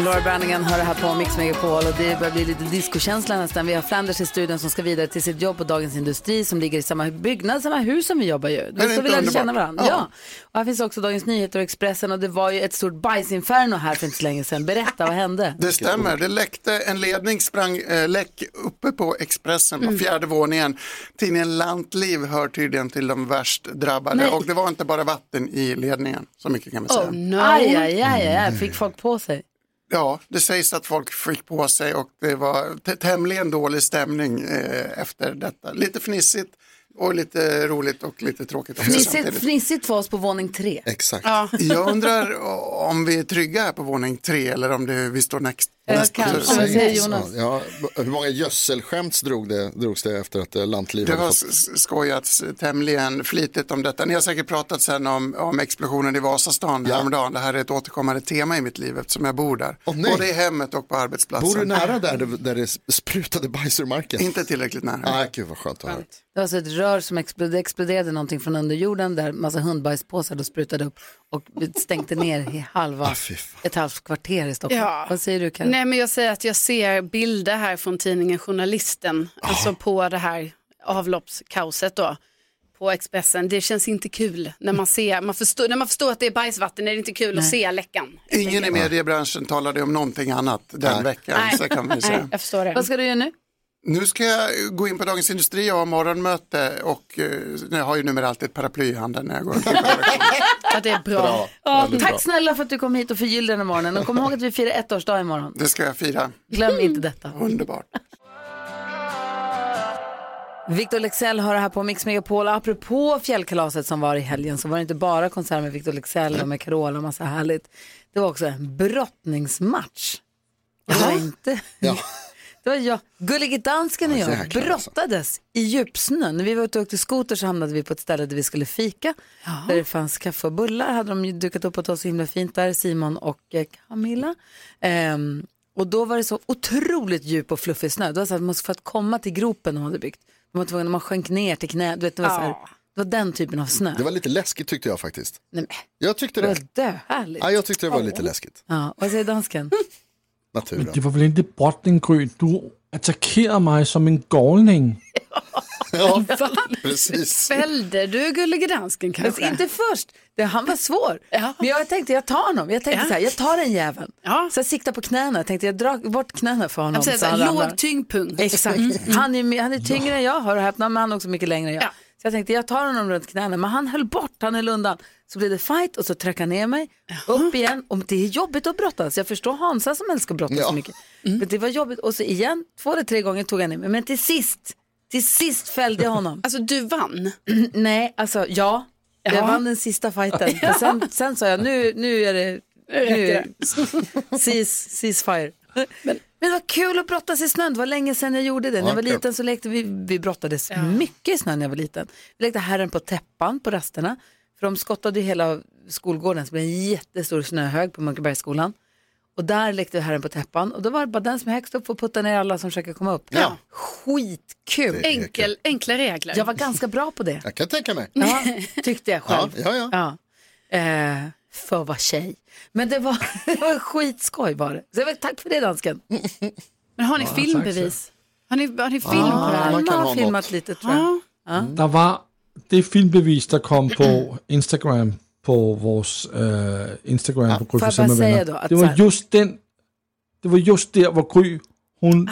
A: Laura Branningen hör det här på Mix Megapol och det börjar bli lite discokänsla nästan. Vi har Flanders i studion som ska vidare till sitt jobb på Dagens Industri som ligger i samma byggnad, samma hus som vi jobbar ju.
E: det
A: Vi ska
E: inte
A: väl lära känna
E: underbart?
A: varandra.
E: Ja.
A: Ja. Och här finns också Dagens Nyheter och Expressen och det var ju ett stort bajsinferno här för inte så länge sedan. Berätta, vad hände?
J: (laughs) Det stämmer, det läckte, en ledning sprang eh, läck uppe på Expressen på
A: Mm.
J: fjärde våningen. Tidningen Lantliv hör tydligen till de värst drabbade
A: Nej.
J: och det var
B: Oh,
J: inte bara vatten i ledningen, så mycket kan vi säga. (laughs)
A: Aj, aj, aj, aj, aj, fick folk på sig.
J: Ja, det sägs att folk fick på sig och det var t- tämligen dålig stämning eh, efter detta. Lite fnissigt och lite roligt och lite tråkigt. också
A: Fnissigt,
J: samtidigt.
A: fnissigt för oss på våning tre.
C: Exakt.
A: Ja.
J: (laughs) Jag undrar om vi är trygga här på våning tre eller om det, vi står next,
A: Eh,
J: näst på tur.
C: Ja, hur många gödselskämt drog det, drogs det efter att eh, Lantliv
J: Det
C: hade
J: har
C: fått-
J: s- skojats tämligen flitigt om detta. Ni har säkert pratat sen om, om explosionen i Vasastan häromdagen. Det här är ett återkommande tema i mitt liv eftersom jag bor där.
C: nej.
J: Både i hemmet och på arbetsplatsen.
C: Bor du nära där, det- där det sprutade bajs ur marken?
J: Inte tillräckligt nära.
C: Nej, gud vad skönt att höra.
A: Det var alltså ett rör som expl- det exploderade någonting från under jorden där massa hundbajspåsar då sprutade upp och stänkte ner i halva,
J: Ah,
A: ett halvt kvarter i Stockholm.
B: Ja.
A: Vad säger du Karin?
B: Nej men jag säger att jag ser bilder här från tidningen Journalisten, alltså på det här avloppskaoset då på Expressen. Det känns inte kul när man ser, man förstår, när man förstår att det är bajsvatten är det inte kul att se läckan.
J: Ingen i mediebranschen talade om någonting annat den veckan. Så kan vi säga.
B: jag förstår det.
A: Vad ska du göra nu?
J: Nu ska jag gå in på Dagens Industri, jag har morgonmöte och eh, jag har ju numera alltid ett paraply i handen när jag går omkring.
A: (laughs) Ja, det är bra.
J: Bra.
A: Ja,
J: Väldigt
A: tack
J: bra.
A: snälla för att du kom hit och förgyllde den här morgonen. Och kom ihåg att vi firar ettårsdag imorgon.
J: Det ska jag fira.
A: Glöm inte detta.
J: Underbart.
A: Victor Lexell har det här på Mix Megapol. Apropå fjällkalaset som var i helgen så var det inte bara konsert med Victor Lexell och med Carola och massa härligt. Det var också en brottningsmatch. Det var inte... (laughs) Det var jag. Gullige dansken och jag
P: jäklar
A: brottades i djupsnön. När vi var ute och åkte skoter så hamnade vi på ett ställe där vi skulle fika. Där det fanns kaffe och bullar hade de ju dukat upp åt oss så himla fint där, Simon och eh, Camilla. Ehm, och då var det så otroligt djup och fluffig snö. Det var så att man för att komma till gropen de hade byggt, de var tvungna, man sjönk ner till knä. Du vet, det, var så här,
C: Ja.
A: det var den typen av snö.
C: Det var lite läskigt tyckte jag faktiskt.
A: Nej, men,
C: Jag tyckte
A: det
C: det.
A: var döhärligt.
C: Ja, jag tyckte det var lite läskigt.
A: Ja, vad säger dansken?
C: Naturen.
D: Det var väl inte brottninggry? Du attackerade mig som en galning.
A: Mm.
C: Ja, precis.
B: Fällde du gullige dansken kanske?
A: Men inte först, det, han var svår. Men jag tänkte jag tar honom, jag tänkte så här, jag tar den jäveln. Så jag siktar på knäna, jag tänkte jag drar bort knäna för honom.
B: Jag säger så
A: han
B: här,
A: ramlar.
B: Alltså, låg tyngdpunkt.
A: Exakt,
B: Mm.
A: han är, med- han är tyngre än jag, hör och häpna, men han är också mycket längre än jag. Så jag tänkte jag tar honom runt knäna, men han höll bort, han höll undan. Så blev det fight och så tryckte han ner mig, upp igen. Och det är jobbigt att brottas, jag förstår Hansa som älskar att brottas så mycket.
B: Mm.
A: Men det var jobbigt och så igen, två eller tre gånger tog han ner mig, men till sist, till sist fällde jag honom.
B: Alltså du vann?
A: (clears throat) Nej, alltså ja.
B: Ja.
A: Jag vann den sista fighten.
B: (laughs)
A: Men Sen, sen sa jag nu, nu är det... Nu,
B: räcker
A: cease, ceasefire. Men, men det var kul att brottas i snön. Det var länge sedan jag gjorde det. När jag var
B: Ja, kul.
A: liten så lekte vi, vi brottades mycket i snön när jag var liten. Vi lekte herren på täppan på rasterna. För de skottade ju hela skolgården så det blev en jättestor snöhög på Munkebergsskolan. Och där lekte vi herren på täppan och då var det bara den som är högst upp får putta ner alla som försöker komma upp.
C: Ja.
A: Skitkul!
C: Det är Enkel- kul.
B: enkla regler.
A: Jag var ganska bra på det.
C: Jag kan tänka mig.
A: Ja, tyckte jag själv.
C: Ja, ja,
A: Eh, för att vara tjej. Men det var, (laughs) det var skitskoj var det. Så jag vill, tack för det dansken.
B: Men har ni
D: Ja,
B: filmbevis? Har ni, har ni film
D: Ah,
B: på det här? Ah.
D: man kan
A: Jag
D: ha
A: har filmat lite tror jag. Ah. Ja.
D: Der var det filmbevis, der kom på Instagram, på vores øh, Instagram på Gry
A: får jeg
D: Forssell med
A: bare sige
D: venner.
A: dog, at
D: Det var
A: så-
D: just den, det var just der, hvor Gry,
A: Ah.
D: hun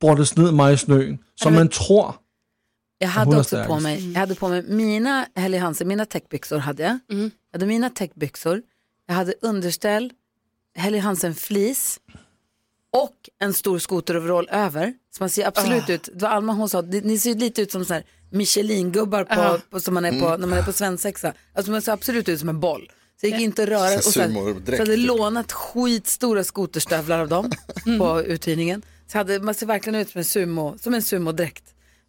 D: brottes ned mig i snøen, som man tror,
A: Jag
D: Hon
A: hade
D: är
A: också på
D: starkast.
P: Mm.
A: mig, jag hade på mig mina Helly Hansen, mina täckbyxor hade jag.
P: Mm.
A: Jag hade mina täckbyxor, jag hade underställ, Helly Hansen flis och en stor skoteroverall över. Så man ser absolut
P: Ah.
A: ut, det var Alma hon sa, "Ni- ni ser lite ut som så här Michelin-gubbar på,
P: Ah.
A: på, som man är på,
P: Mm.
A: när man är på svensexa. Alltså man ser absolut ut som en boll. Så det gick inte att röra.
P: Så
A: Och så, här, så
P: sumordräkt,
A: jag hade
P: typ.
A: lånat skitstora skoterstövlar av dem på uthyrningen. Så hade, man ser verkligen ut som en, sumo, som en sumodräkt.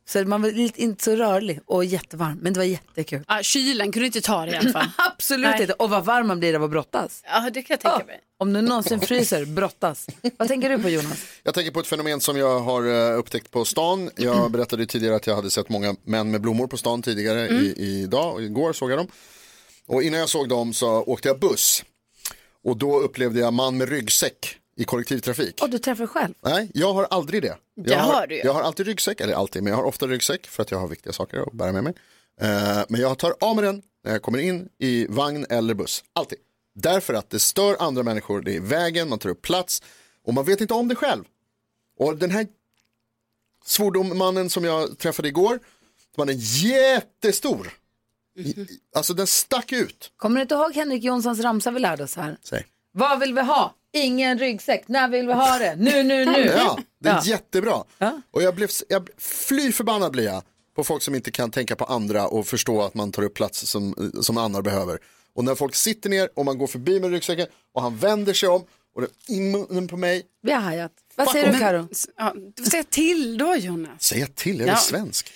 A: Så man var lite, inte så rörlig och jättevarm, men det var jättekul.
B: Ja, Ah, kylen kunde inte ta det i alla fall.
A: (laughs) Absolut
B: Nej.
A: inte. Och vad varm man blir av att brottas. Ah.
B: Ja, det kan jag tänka mig.
A: Om du någonsin fryser, brottas. Vad tänker du
B: (laughs)
A: på Jonas?
C: Jag tänker på ett fenomen som jag har eh, upptäckt på stan. Jag berättade ju tidigare att jag hade sett många män med blommor på stan tidigare i, idag och igår såg jag dem. Och innan jag såg dem så åkte jag buss. Och då upplevde jag man med ryggsäck i kollektivtrafik.
A: Och du träffar själv.
C: Nej, jag har aldrig det.
A: Det
C: jag
A: har du ju.
C: Jag har alltid ryggsäck, eller alltid, men jag har ofta ryggsäck för att jag har viktiga saker att bära med mig. Eh, men jag tar av mig den när jag kommer in i vagn eller buss, alltid. Därför att det stör andra människor, det är i vägen, man tar upp plats och man vet inte om det själv. Och den här svordommannen som jag träffade igår, den är jättestor. I- Alltså den stack ut.
A: Kommer du inte ihåg Henrik Jonssons ramsa vi lärde oss här?
C: Säg.
A: Vad vill vi ha? Ingen ryggsäck. När vill vi ha det? Nu, nu, nu.
C: Ja, det är jättebra. Och jag blev, jag, fly förbannad blir jag på folk som inte kan tänka på andra och förstå att man tar upp plats som, eh, som andra behöver. Och när folk sitter ner och man går förbi med ryggsäcken och han vänder sig om och det i munnen på mig.
A: Vi har hajat. Vad säger du Karo?
B: Ja, säg till då Jonas.
C: Säga till, jag är
B: Ja.
C: väl svensk.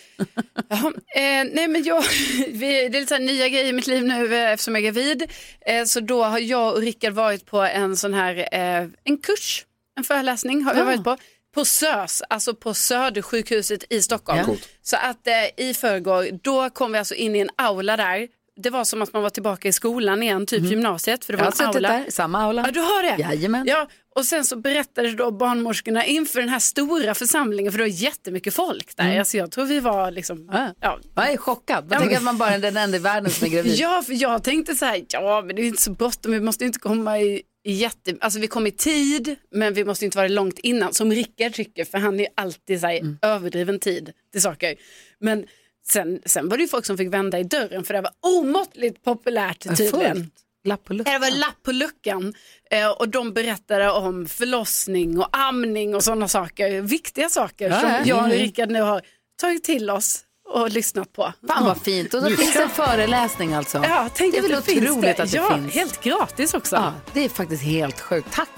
B: Jaha, eh, nej men jag, (laughs) vi, det är lite så här nya grejer i mitt liv nu eh, eftersom jag är gravid. Eh, så då har jag och Rickard varit på en sån här, eh, en kurs, en föreläsning har vi
A: Ja.
B: varit på. På SÖS, alltså på Södersjukhuset i Stockholm.
A: Ja. Coolt.
B: Så att eh, i förrgår, då kom vi alltså in i en aula där. Det var som att man var tillbaka i skolan igen, typ gymnasiet. För det
A: Mhm. Jag
B: var
A: har
B: en
A: suttit
B: aula.
A: där, i samma aula.
B: Ja, du har det?
A: Jajamän.
B: Ja, och sen så berättade då barnmorskorna inför den här stora församlingen, för det var jättemycket folk där.
A: Mm. Ah.
B: Alltså jag tror vi var liksom... Ja.
A: Jag är chockad. Man tänker att man bara är den enda i världen som är gravid.
B: (laughs) Ja, för jag tänkte så här, ja men det är inte så bråttom, vi måste inte komma i, i jätte... Alltså vi kom i tid, men vi måste inte vara långt innan, som Rickard tycker, för han är ju alltid så här
A: Mm.
B: överdriven tid till saker. Men sen, sen var det ju folk som fick vända i dörren, för det var omåttligt populärt tydligen.
A: Lapp på luckan.
B: Det var lapp på luckan eh, och de berättade om förlossning och amning och sådana saker. Viktiga saker
A: Ja,
B: som
A: ja.
B: jag och
A: Mm.
B: Rickard nu har tagit till oss och lyssnat på.
A: Fan vad fint. Och då finns det en föreläsning alltså.
B: Ja, tänk
A: det är väl
B: att det finns
A: otroligt
B: det.
A: att det
B: Ja,
A: finns.
B: helt gratis också.
A: Ja, det är faktiskt helt sjukt. Tack.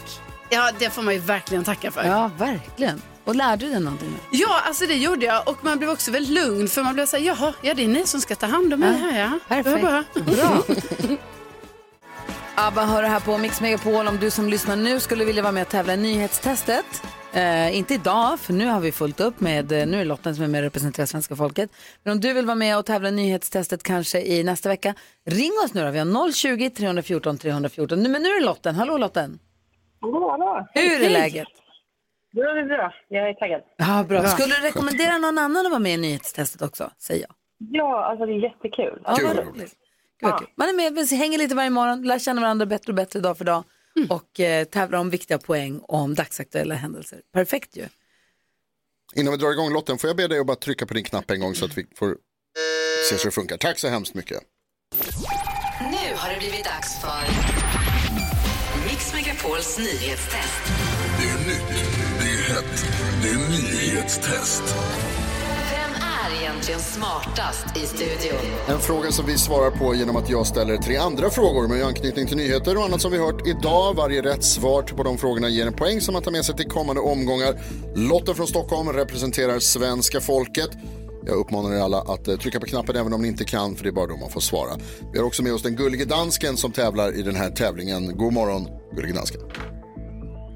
B: Ja, det får man ju verkligen tacka för.
A: Ja, verkligen. Och lärde du dig någonting? nu?
B: Ja, alltså det gjorde jag och man blev också väldigt lugn för man blev så här, jaha, ja det är ni som ska ta hand om mig här ja.
A: Perfekt.
B: Det var bra.
A: Bra. ABBA hör det här på Mix Megapol. Om du som lyssnar nu skulle vilja vara med och tävla i nyhetstestet. Eh, inte idag, för nu har vi fullt upp med, eh, nu är Lotta som är med och representerar svenska folket. Men om du vill vara med och tävla i nyhetstestet kanske i nästa vecka, ring oss nu då. Vi har 020-314 314. Nu, men nu är det Lotten. Hallå Lotten!
Q: Hallå, hallå.
A: Hur är läget?
Q: Jo, det är bra. Jag är taggad.
A: Ja, bra.
Q: Bra.
A: Skulle du rekommendera någon annan att vara med i nyhetstestet också? Säger jag.
Q: Ja, alltså det är jättekul.
A: Ja,
Q: Alltså,
A: vad roligt. Gud, vad kul. Man är med, vi hänger lite varje morgon, lär känna varandra bättre och bättre dag för dag och eh, tävlar om viktiga poäng om dagsaktuella händelser. Perfekt ju.
C: Innan vi drar igång lotten, får jag be dig att bara trycka på din knapp en gång så att vi får se så det funkar. Tack så hemskt mycket.
P: Nu har det blivit dags för Mix Megapols nyhetstest.
J: Det är nytt, det är hett, det är nyhetstest.
P: Vem är egentligen smartast i studion?
C: En fråga som vi svarar på genom att jag ställer tre andra frågor med anknytning till nyheter och annat som vi hört idag. Varje rätt svar på de frågorna ger en poäng som man tar med sig till kommande omgångar. Lotten från Stockholm representerar svenska folket. Jag uppmanar er alla att eh, trycka på knappen även om ni inte kan, för det är bara då man får svara. Vi har också med oss den gullige dansken som tävlar i den här tävlingen. God morgon, gullige dansken.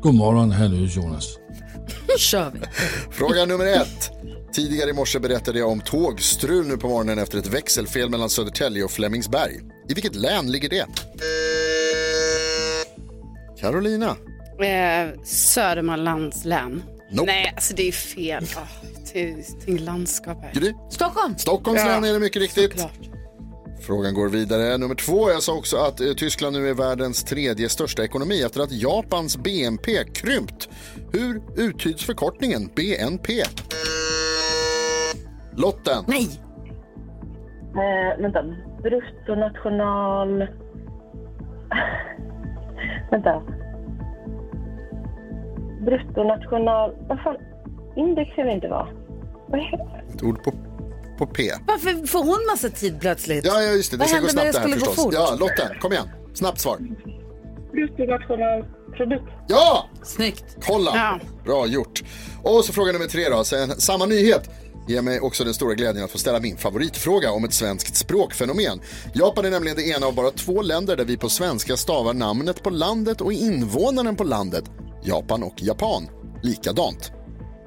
D: God morgon, här nu Jonas.
A: kör vi.
C: Fråga nummer ett. Tidigare i morse berättade jag om tågstrul nu på morgonen efter ett växelfel mellan Södertälje och Flemingsberg. I vilket län ligger det? Carolina.
B: (laughs) Eh, Södermanlands län.
C: Nope.
B: Nej, alltså det är fel. Oh, det är det är ett landskap här.
C: Gry.
A: Stockholm.
C: Stockholms län är det mycket riktigt.
B: Såklart.
C: Frågan går vidare. Nummer två. Jag sa också att eh, Tyskland nu är världens tredje största ekonomi efter att Japans BNP krympt. Hur uttyds förkortningen BNP? Lotten.
A: Nej.
Q: Eh, vänta, bruttonational... vänta. Bruttonational... Vad fan? Index kan det inte vara. Vad heter det?
C: Ett ord på, på P.
A: Varför får hon massa tid plötsligt?
C: Ja, ja just det. Det
A: Vad
C: ska gå
A: händer när
C: snabbt
A: det
C: det här
A: skulle gå
C: förstås.
A: fort?
C: Ja, Lotten, kom igen. Snabbt svar.
Q: Bruttonationalprodukt.
C: Ja!
A: Snyggt.
C: Kolla!
Q: Ja.
C: Bra gjort. Och så fråga nummer tre då. Sen, samma nyhet ger mig också den stora glädjen att få ställa min favoritfråga om ett svenskt språkfenomen. Japan är nämligen det ena av bara två länder där vi på svenska stavar namnet på landet och invånaren på landet, Japan och Japan, likadant.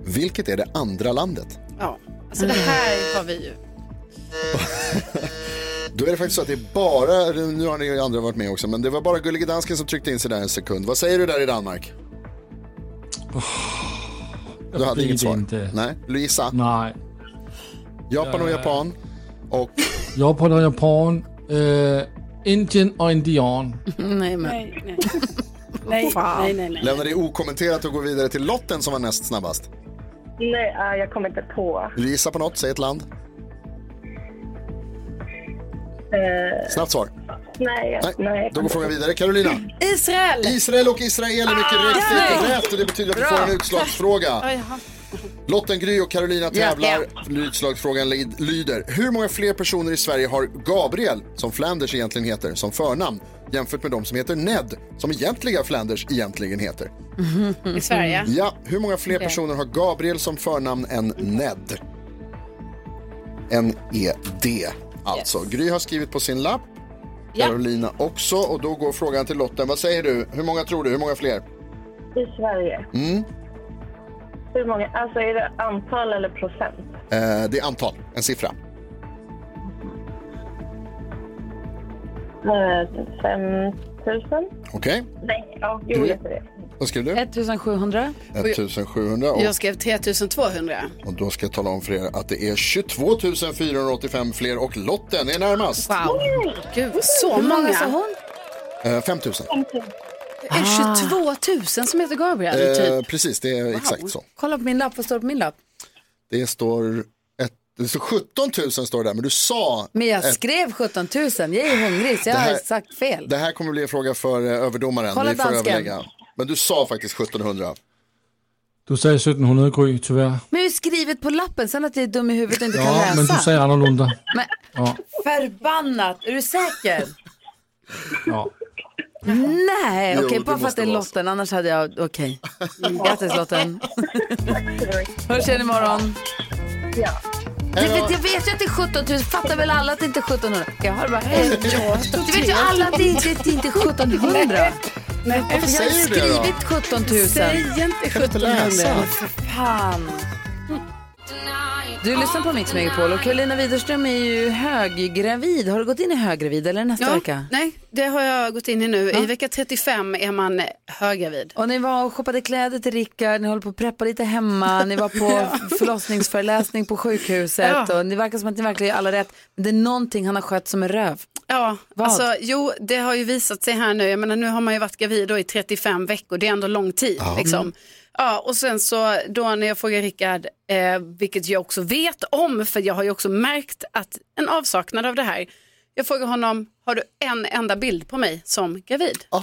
C: Vilket är det andra landet?
B: Ja, alltså det här har vi ju.
C: Då är det faktiskt så att det är bara, nu har ni ju andra varit med också, men det var bara Gullige Dansken som tryckte in sig där en sekund. Vad säger du där i Danmark? Du hade
D: blir det
C: inget svar?
D: Oh, inte.
C: Nej. Luisa?
D: Nej. Eh.
C: Japan och
D: Jag-
C: Japan och
D: Japan och Japan. eh, Indien och Indian.
A: (laughs) Nej, men.
B: Nej, nej.
A: (laughs)
B: nej, nej, nej, nej.
C: lämnar det okommenterat och går vidare till Lotten som var näst snabbast.
Q: Nej, eh, jag kommer inte på.
C: Vill du gissa på något? Säg ett land.
Q: Eh,
C: Snabbt svar.
Q: Nej, jag- nej.
C: Då går frågan vidare. Carolina.
A: Israel!
C: Israel och Israel är mycket riktigt
Q: nej.
C: rätt och det betyder att vi
Q: Bra.
C: får en utslagsfråga.
Q: jaha.
C: Lotten Gry och Carolina
Q: Ja.
C: tävlar. Utslagsfrågan lyd- lyder. Hur många fler personer i Sverige har Gabriel, som Flanders egentligen heter, som förnamn jämfört med de som heter Ned, som egentliga Flanders egentligen heter?
B: Mm.
C: Mm.
B: I Sverige?
C: (laughs) Ja, hur många fler
B: Okej.
C: personer har Gabriel som förnamn än Ned? N-E-D, alltså. Gry har skrivit på sin lapp.
Q: Ja.
C: Carolina också. Och då går frågan till Lotten. Vad säger du? Hur många tror du? Hur många fler?
Q: I Sverige.
C: Mm.
Q: Hur många? Alltså är det antal eller procent?
C: Eh, det är antal, en siffra.
Q: Eh, 5 000?
C: Okej,
Q: Nej, ja, jo,
C: Du-
Q: jag tror det.
C: vad skrev du?
A: 1700.
C: 1700. Och,
B: Jag skrev 3200.
C: och då ska jag tala om för er att det är 22 485 fler och Lotten är närmast.
B: Wow. Gud, så
A: Hur många
B: många.
A: sa hon?
C: Eh, 5 000.
B: Det
A: Ah.
B: är 22 000 som heter Gabriel, typ.
C: Eh, precis, det är exakt så.
A: Kolla på min lapp, vad står det på min lapp?
C: Det står, ett, det står 17 000 står det där, men du sa...
A: Men jag
C: ett-
A: skrev 17 000, jag är hungrig så jag
C: Äh. Det här-
A: har sagt fel.
C: Det här kommer bli en fråga för eh, överdomaren.
A: Kolla
C: Vi får
A: dansken.
C: överlägga. Men du sa faktiskt 1700.
D: Du sagde 1700 Gry, tyvärr.
A: Men det är ju skrivet på lappen, sen att jag är dum i huvudet och inte kan
D: Ja,
A: läsa.
D: men du säger annorlunda.
A: Men-
D: Ja,
A: Förbannat, är du säker?
D: ja.
A: Nej,
D: Jo,
A: okej,
D: det
A: bara för att
D: måste
A: det är
D: vara
A: Lotten, annars hade jag, okej. Grattis Lotten. Hörs igen imorgon.
Q: Ja.
A: Jag vet, jag vet ju att det är 17 000, fattar väl alla att det inte är 1700? Jag har bara, hej. Du vet ju alla att det inte det inte är 1700.
B: Nej,
A: Varför jag har ju skrivit 17 000.
B: Säg inte 1700.
A: Alltså, För fan. Du lyssnar på Mix Megapol och Karolina Widerström är ju höggravid. Har du gått in i höggravid eller nästa
B: Ja,
A: vecka?
B: nej, det har jag gått in i nu. I vecka 35 är man höggravid.
A: Och ni var och shoppade kläder till Rickard, ni håller på att preppa lite hemma, ni var på
B: (laughs)
A: förlossningsföreläsning på sjukhuset
B: Ja.
A: och det verkar som att ni verkligen gör alla rätt. Men det är någonting han har skött som en röv.
B: Ja,
A: Vad?
B: alltså jo, det har ju visat sig här nu. Jag menar, nu har man ju varit gravid då i 35 veckor. Det är ändå lång tid.
A: Ja.
B: Liksom.
A: Mm.
B: Ja, och sen så då när jag frågar Rickard, eh, vilket jag också vet om, för jag har ju också märkt att en avsaknad av det här. Jag frågar honom, har du en enda bild på mig som gravid?
A: Ah.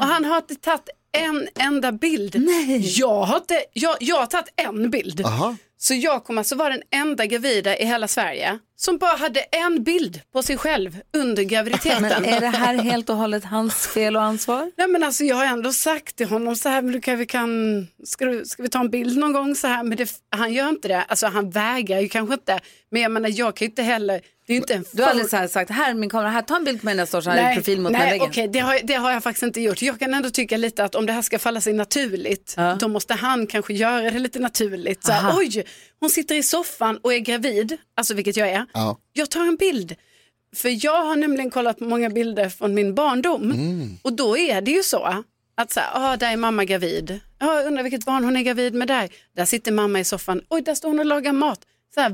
B: Och han har inte tagit en enda bild. Nej. Jag, har inte, jag, jag har tagit en bild. Så jag kommer alltså vara den enda gravida i hela Sverige som bara hade en bild på sig själv under graviditeten.
A: Men är det här helt och hållet hans fel och ansvar?
B: Nej men alltså jag har ändå sagt till honom så här, men du kan, vi kan, ska, du, ska vi ta en bild någon gång så här, men det, han gör inte det, alltså han vägrar ju kanske inte, men jag menar jag kan ju inte heller, det är ju inte en
A: Du har
B: full-
A: aldrig så här sagt, här är min kamera, här ta en bild på mig när jag står så här i profil mot den här
B: nej,
A: väggen.
B: okej, det, har, det har jag faktiskt inte gjort. Jag kan ändå tycka lite att om det här ska falla sig naturligt, då måste han kanske göra det lite naturligt. Så här,
A: Aha.
B: Oj, hon sitter i soffan och är gravid, alltså vilket jag är.
C: Ja.
B: Jag tar en bild. För jag har nämligen kollat på många bilder från min barndom och då är det ju så att så här, ah, där är mamma gravid. Ah, undrar vilket barn hon är gravid med där. Där sitter mamma i soffan. Oj, där står hon och lagar mat. Så här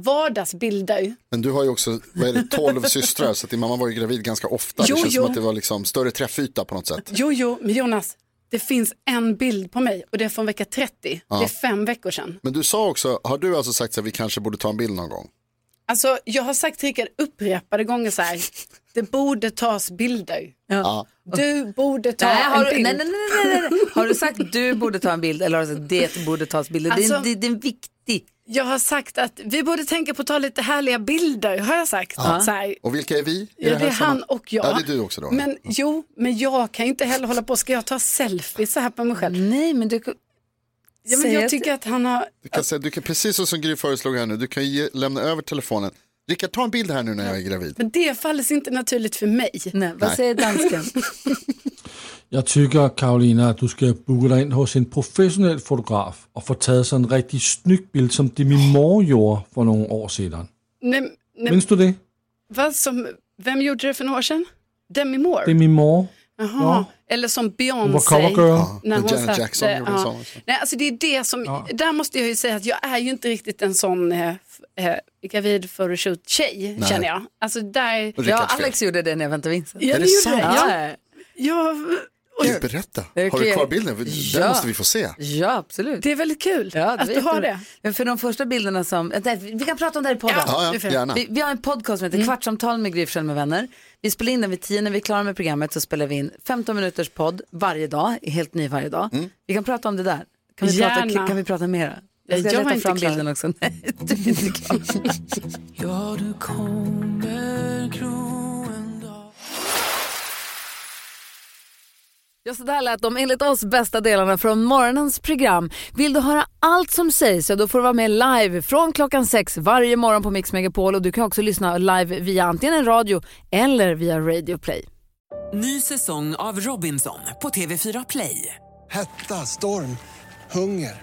B: vardagsbilder.
C: Men du har ju också, vad är det, 12 systrar, så att din mamma var ju gravid ganska ofta.
B: Jo,
C: det känns
B: jo.
C: som att det var liksom större träffyta på något sätt.
B: Jo, jo, men Jonas, det finns en bild på mig och det är från vecka 30.
C: Ja.
B: Det är fem veckor sedan.
C: Men du sa också, har du alltså sagt att vi kanske borde ta en bild någon gång?
B: Alltså, jag har sagt till Rickard upprepade gånger så här, det borde tas bilder.
C: Ja.
B: Du borde ta
A: Nej, har
B: en
A: du, nej,
B: bild.
A: nej, nej, nej, nej, nej. Har du sagt du borde ta en bild eller har du sagt det borde tas bilder? det, är,
B: Alltså-
A: en- det är en viktig.
B: Jag har sagt att vi borde tänka på att ta lite härliga bilder, har jag sagt. Så här,
C: Och vilka är vi? i
B: Ja, det
C: här
B: är
C: samman-
B: han och jag.
C: Ja, det är du också då.
B: Men jo, men jag kan ju inte heller hålla på, ska jag ta selfies så här på mig själv?
A: Nej, men du...
B: Ja, men jag tycker att han har...
C: Du kan, säga, du kan, precis så som Gry föreslog här nu, du kan ju ge, lämna över telefonen. Rickard, ta en bild här nu när jag är gravid.
B: Men det faller sig inte naturligt för mig.
A: Nej,
C: vad Nej. säger
A: dansken?
D: Jag tycker Karolina att du ska boka dig in hos en professionell fotograf och få tagit sådan en riktigt snygg bild som det min mor gjorde för några år sedan.
B: (laughs) Nej, nej,
D: Minns du det?
B: Vad som, vem gjorde det för några år sedan? Demi Moore?
D: Det är min mor.
B: Jaha.
D: Ja.
B: Eller som
D: Hon var
B: Beyoncé.
D: covergirl. Ja,
B: När
D: och
B: hon
D: Janet
B: satte-
D: Jackson gjorde
B: ja.
D: samma sak.
B: Nej, alltså det är det som, där måste jag ju säga att jag är ju inte riktigt en sån eh, f- eh, gravid photoshoot tjej
A: Nej.
B: känner jag. Alltså där...
A: Ja, Alex gjorde det när jag väntade Vincent.
B: Ja, det gjorde det. Ja. Ja, och
C: Gud, berätta.
A: Det är
C: Har du
A: kul.
C: kvar bilden? Den
A: Ja.
C: måste vi få se.
A: Ja, absolut.
B: Det är väldigt kul att du har det.
A: Men för de första bilderna som, eh, nej, vi kan prata om det här i podden.
C: Ja, ja, Nu får jag- gärna.
A: Vi, vi har en podcast som heter
B: Mm.
A: Kvartsamtal med Gry Forssell med vänner. Vi spelar in den vid 10, när vi är klara med programmet så spelar vi in 15 minuters podd varje dag, helt ny varje dag.
C: Mm.
A: Vi kan prata om det där. Kan vi, prata,
B: Gärna.
A: kan vi prata mera?
B: Ja,
A: Jag ska
B: jag är
A: leta
B: inte
A: fram
B: klar.
A: bilden också. Nej,
R: (laughs)
A: du är inte klar.
R: Ja, du kommer gro en dag
A: Ja, så där lät de enligt oss bästa delarna från morgonens program. Vill du höra allt som sägs så då får du vara med live från klockan sex varje morgon på Mix Megapol och du kan också lyssna live via antingen en radio eller via Radio Play.
P: Ny säsong av Robinson på TV4 Play.
S: Hetta, storm, hunger.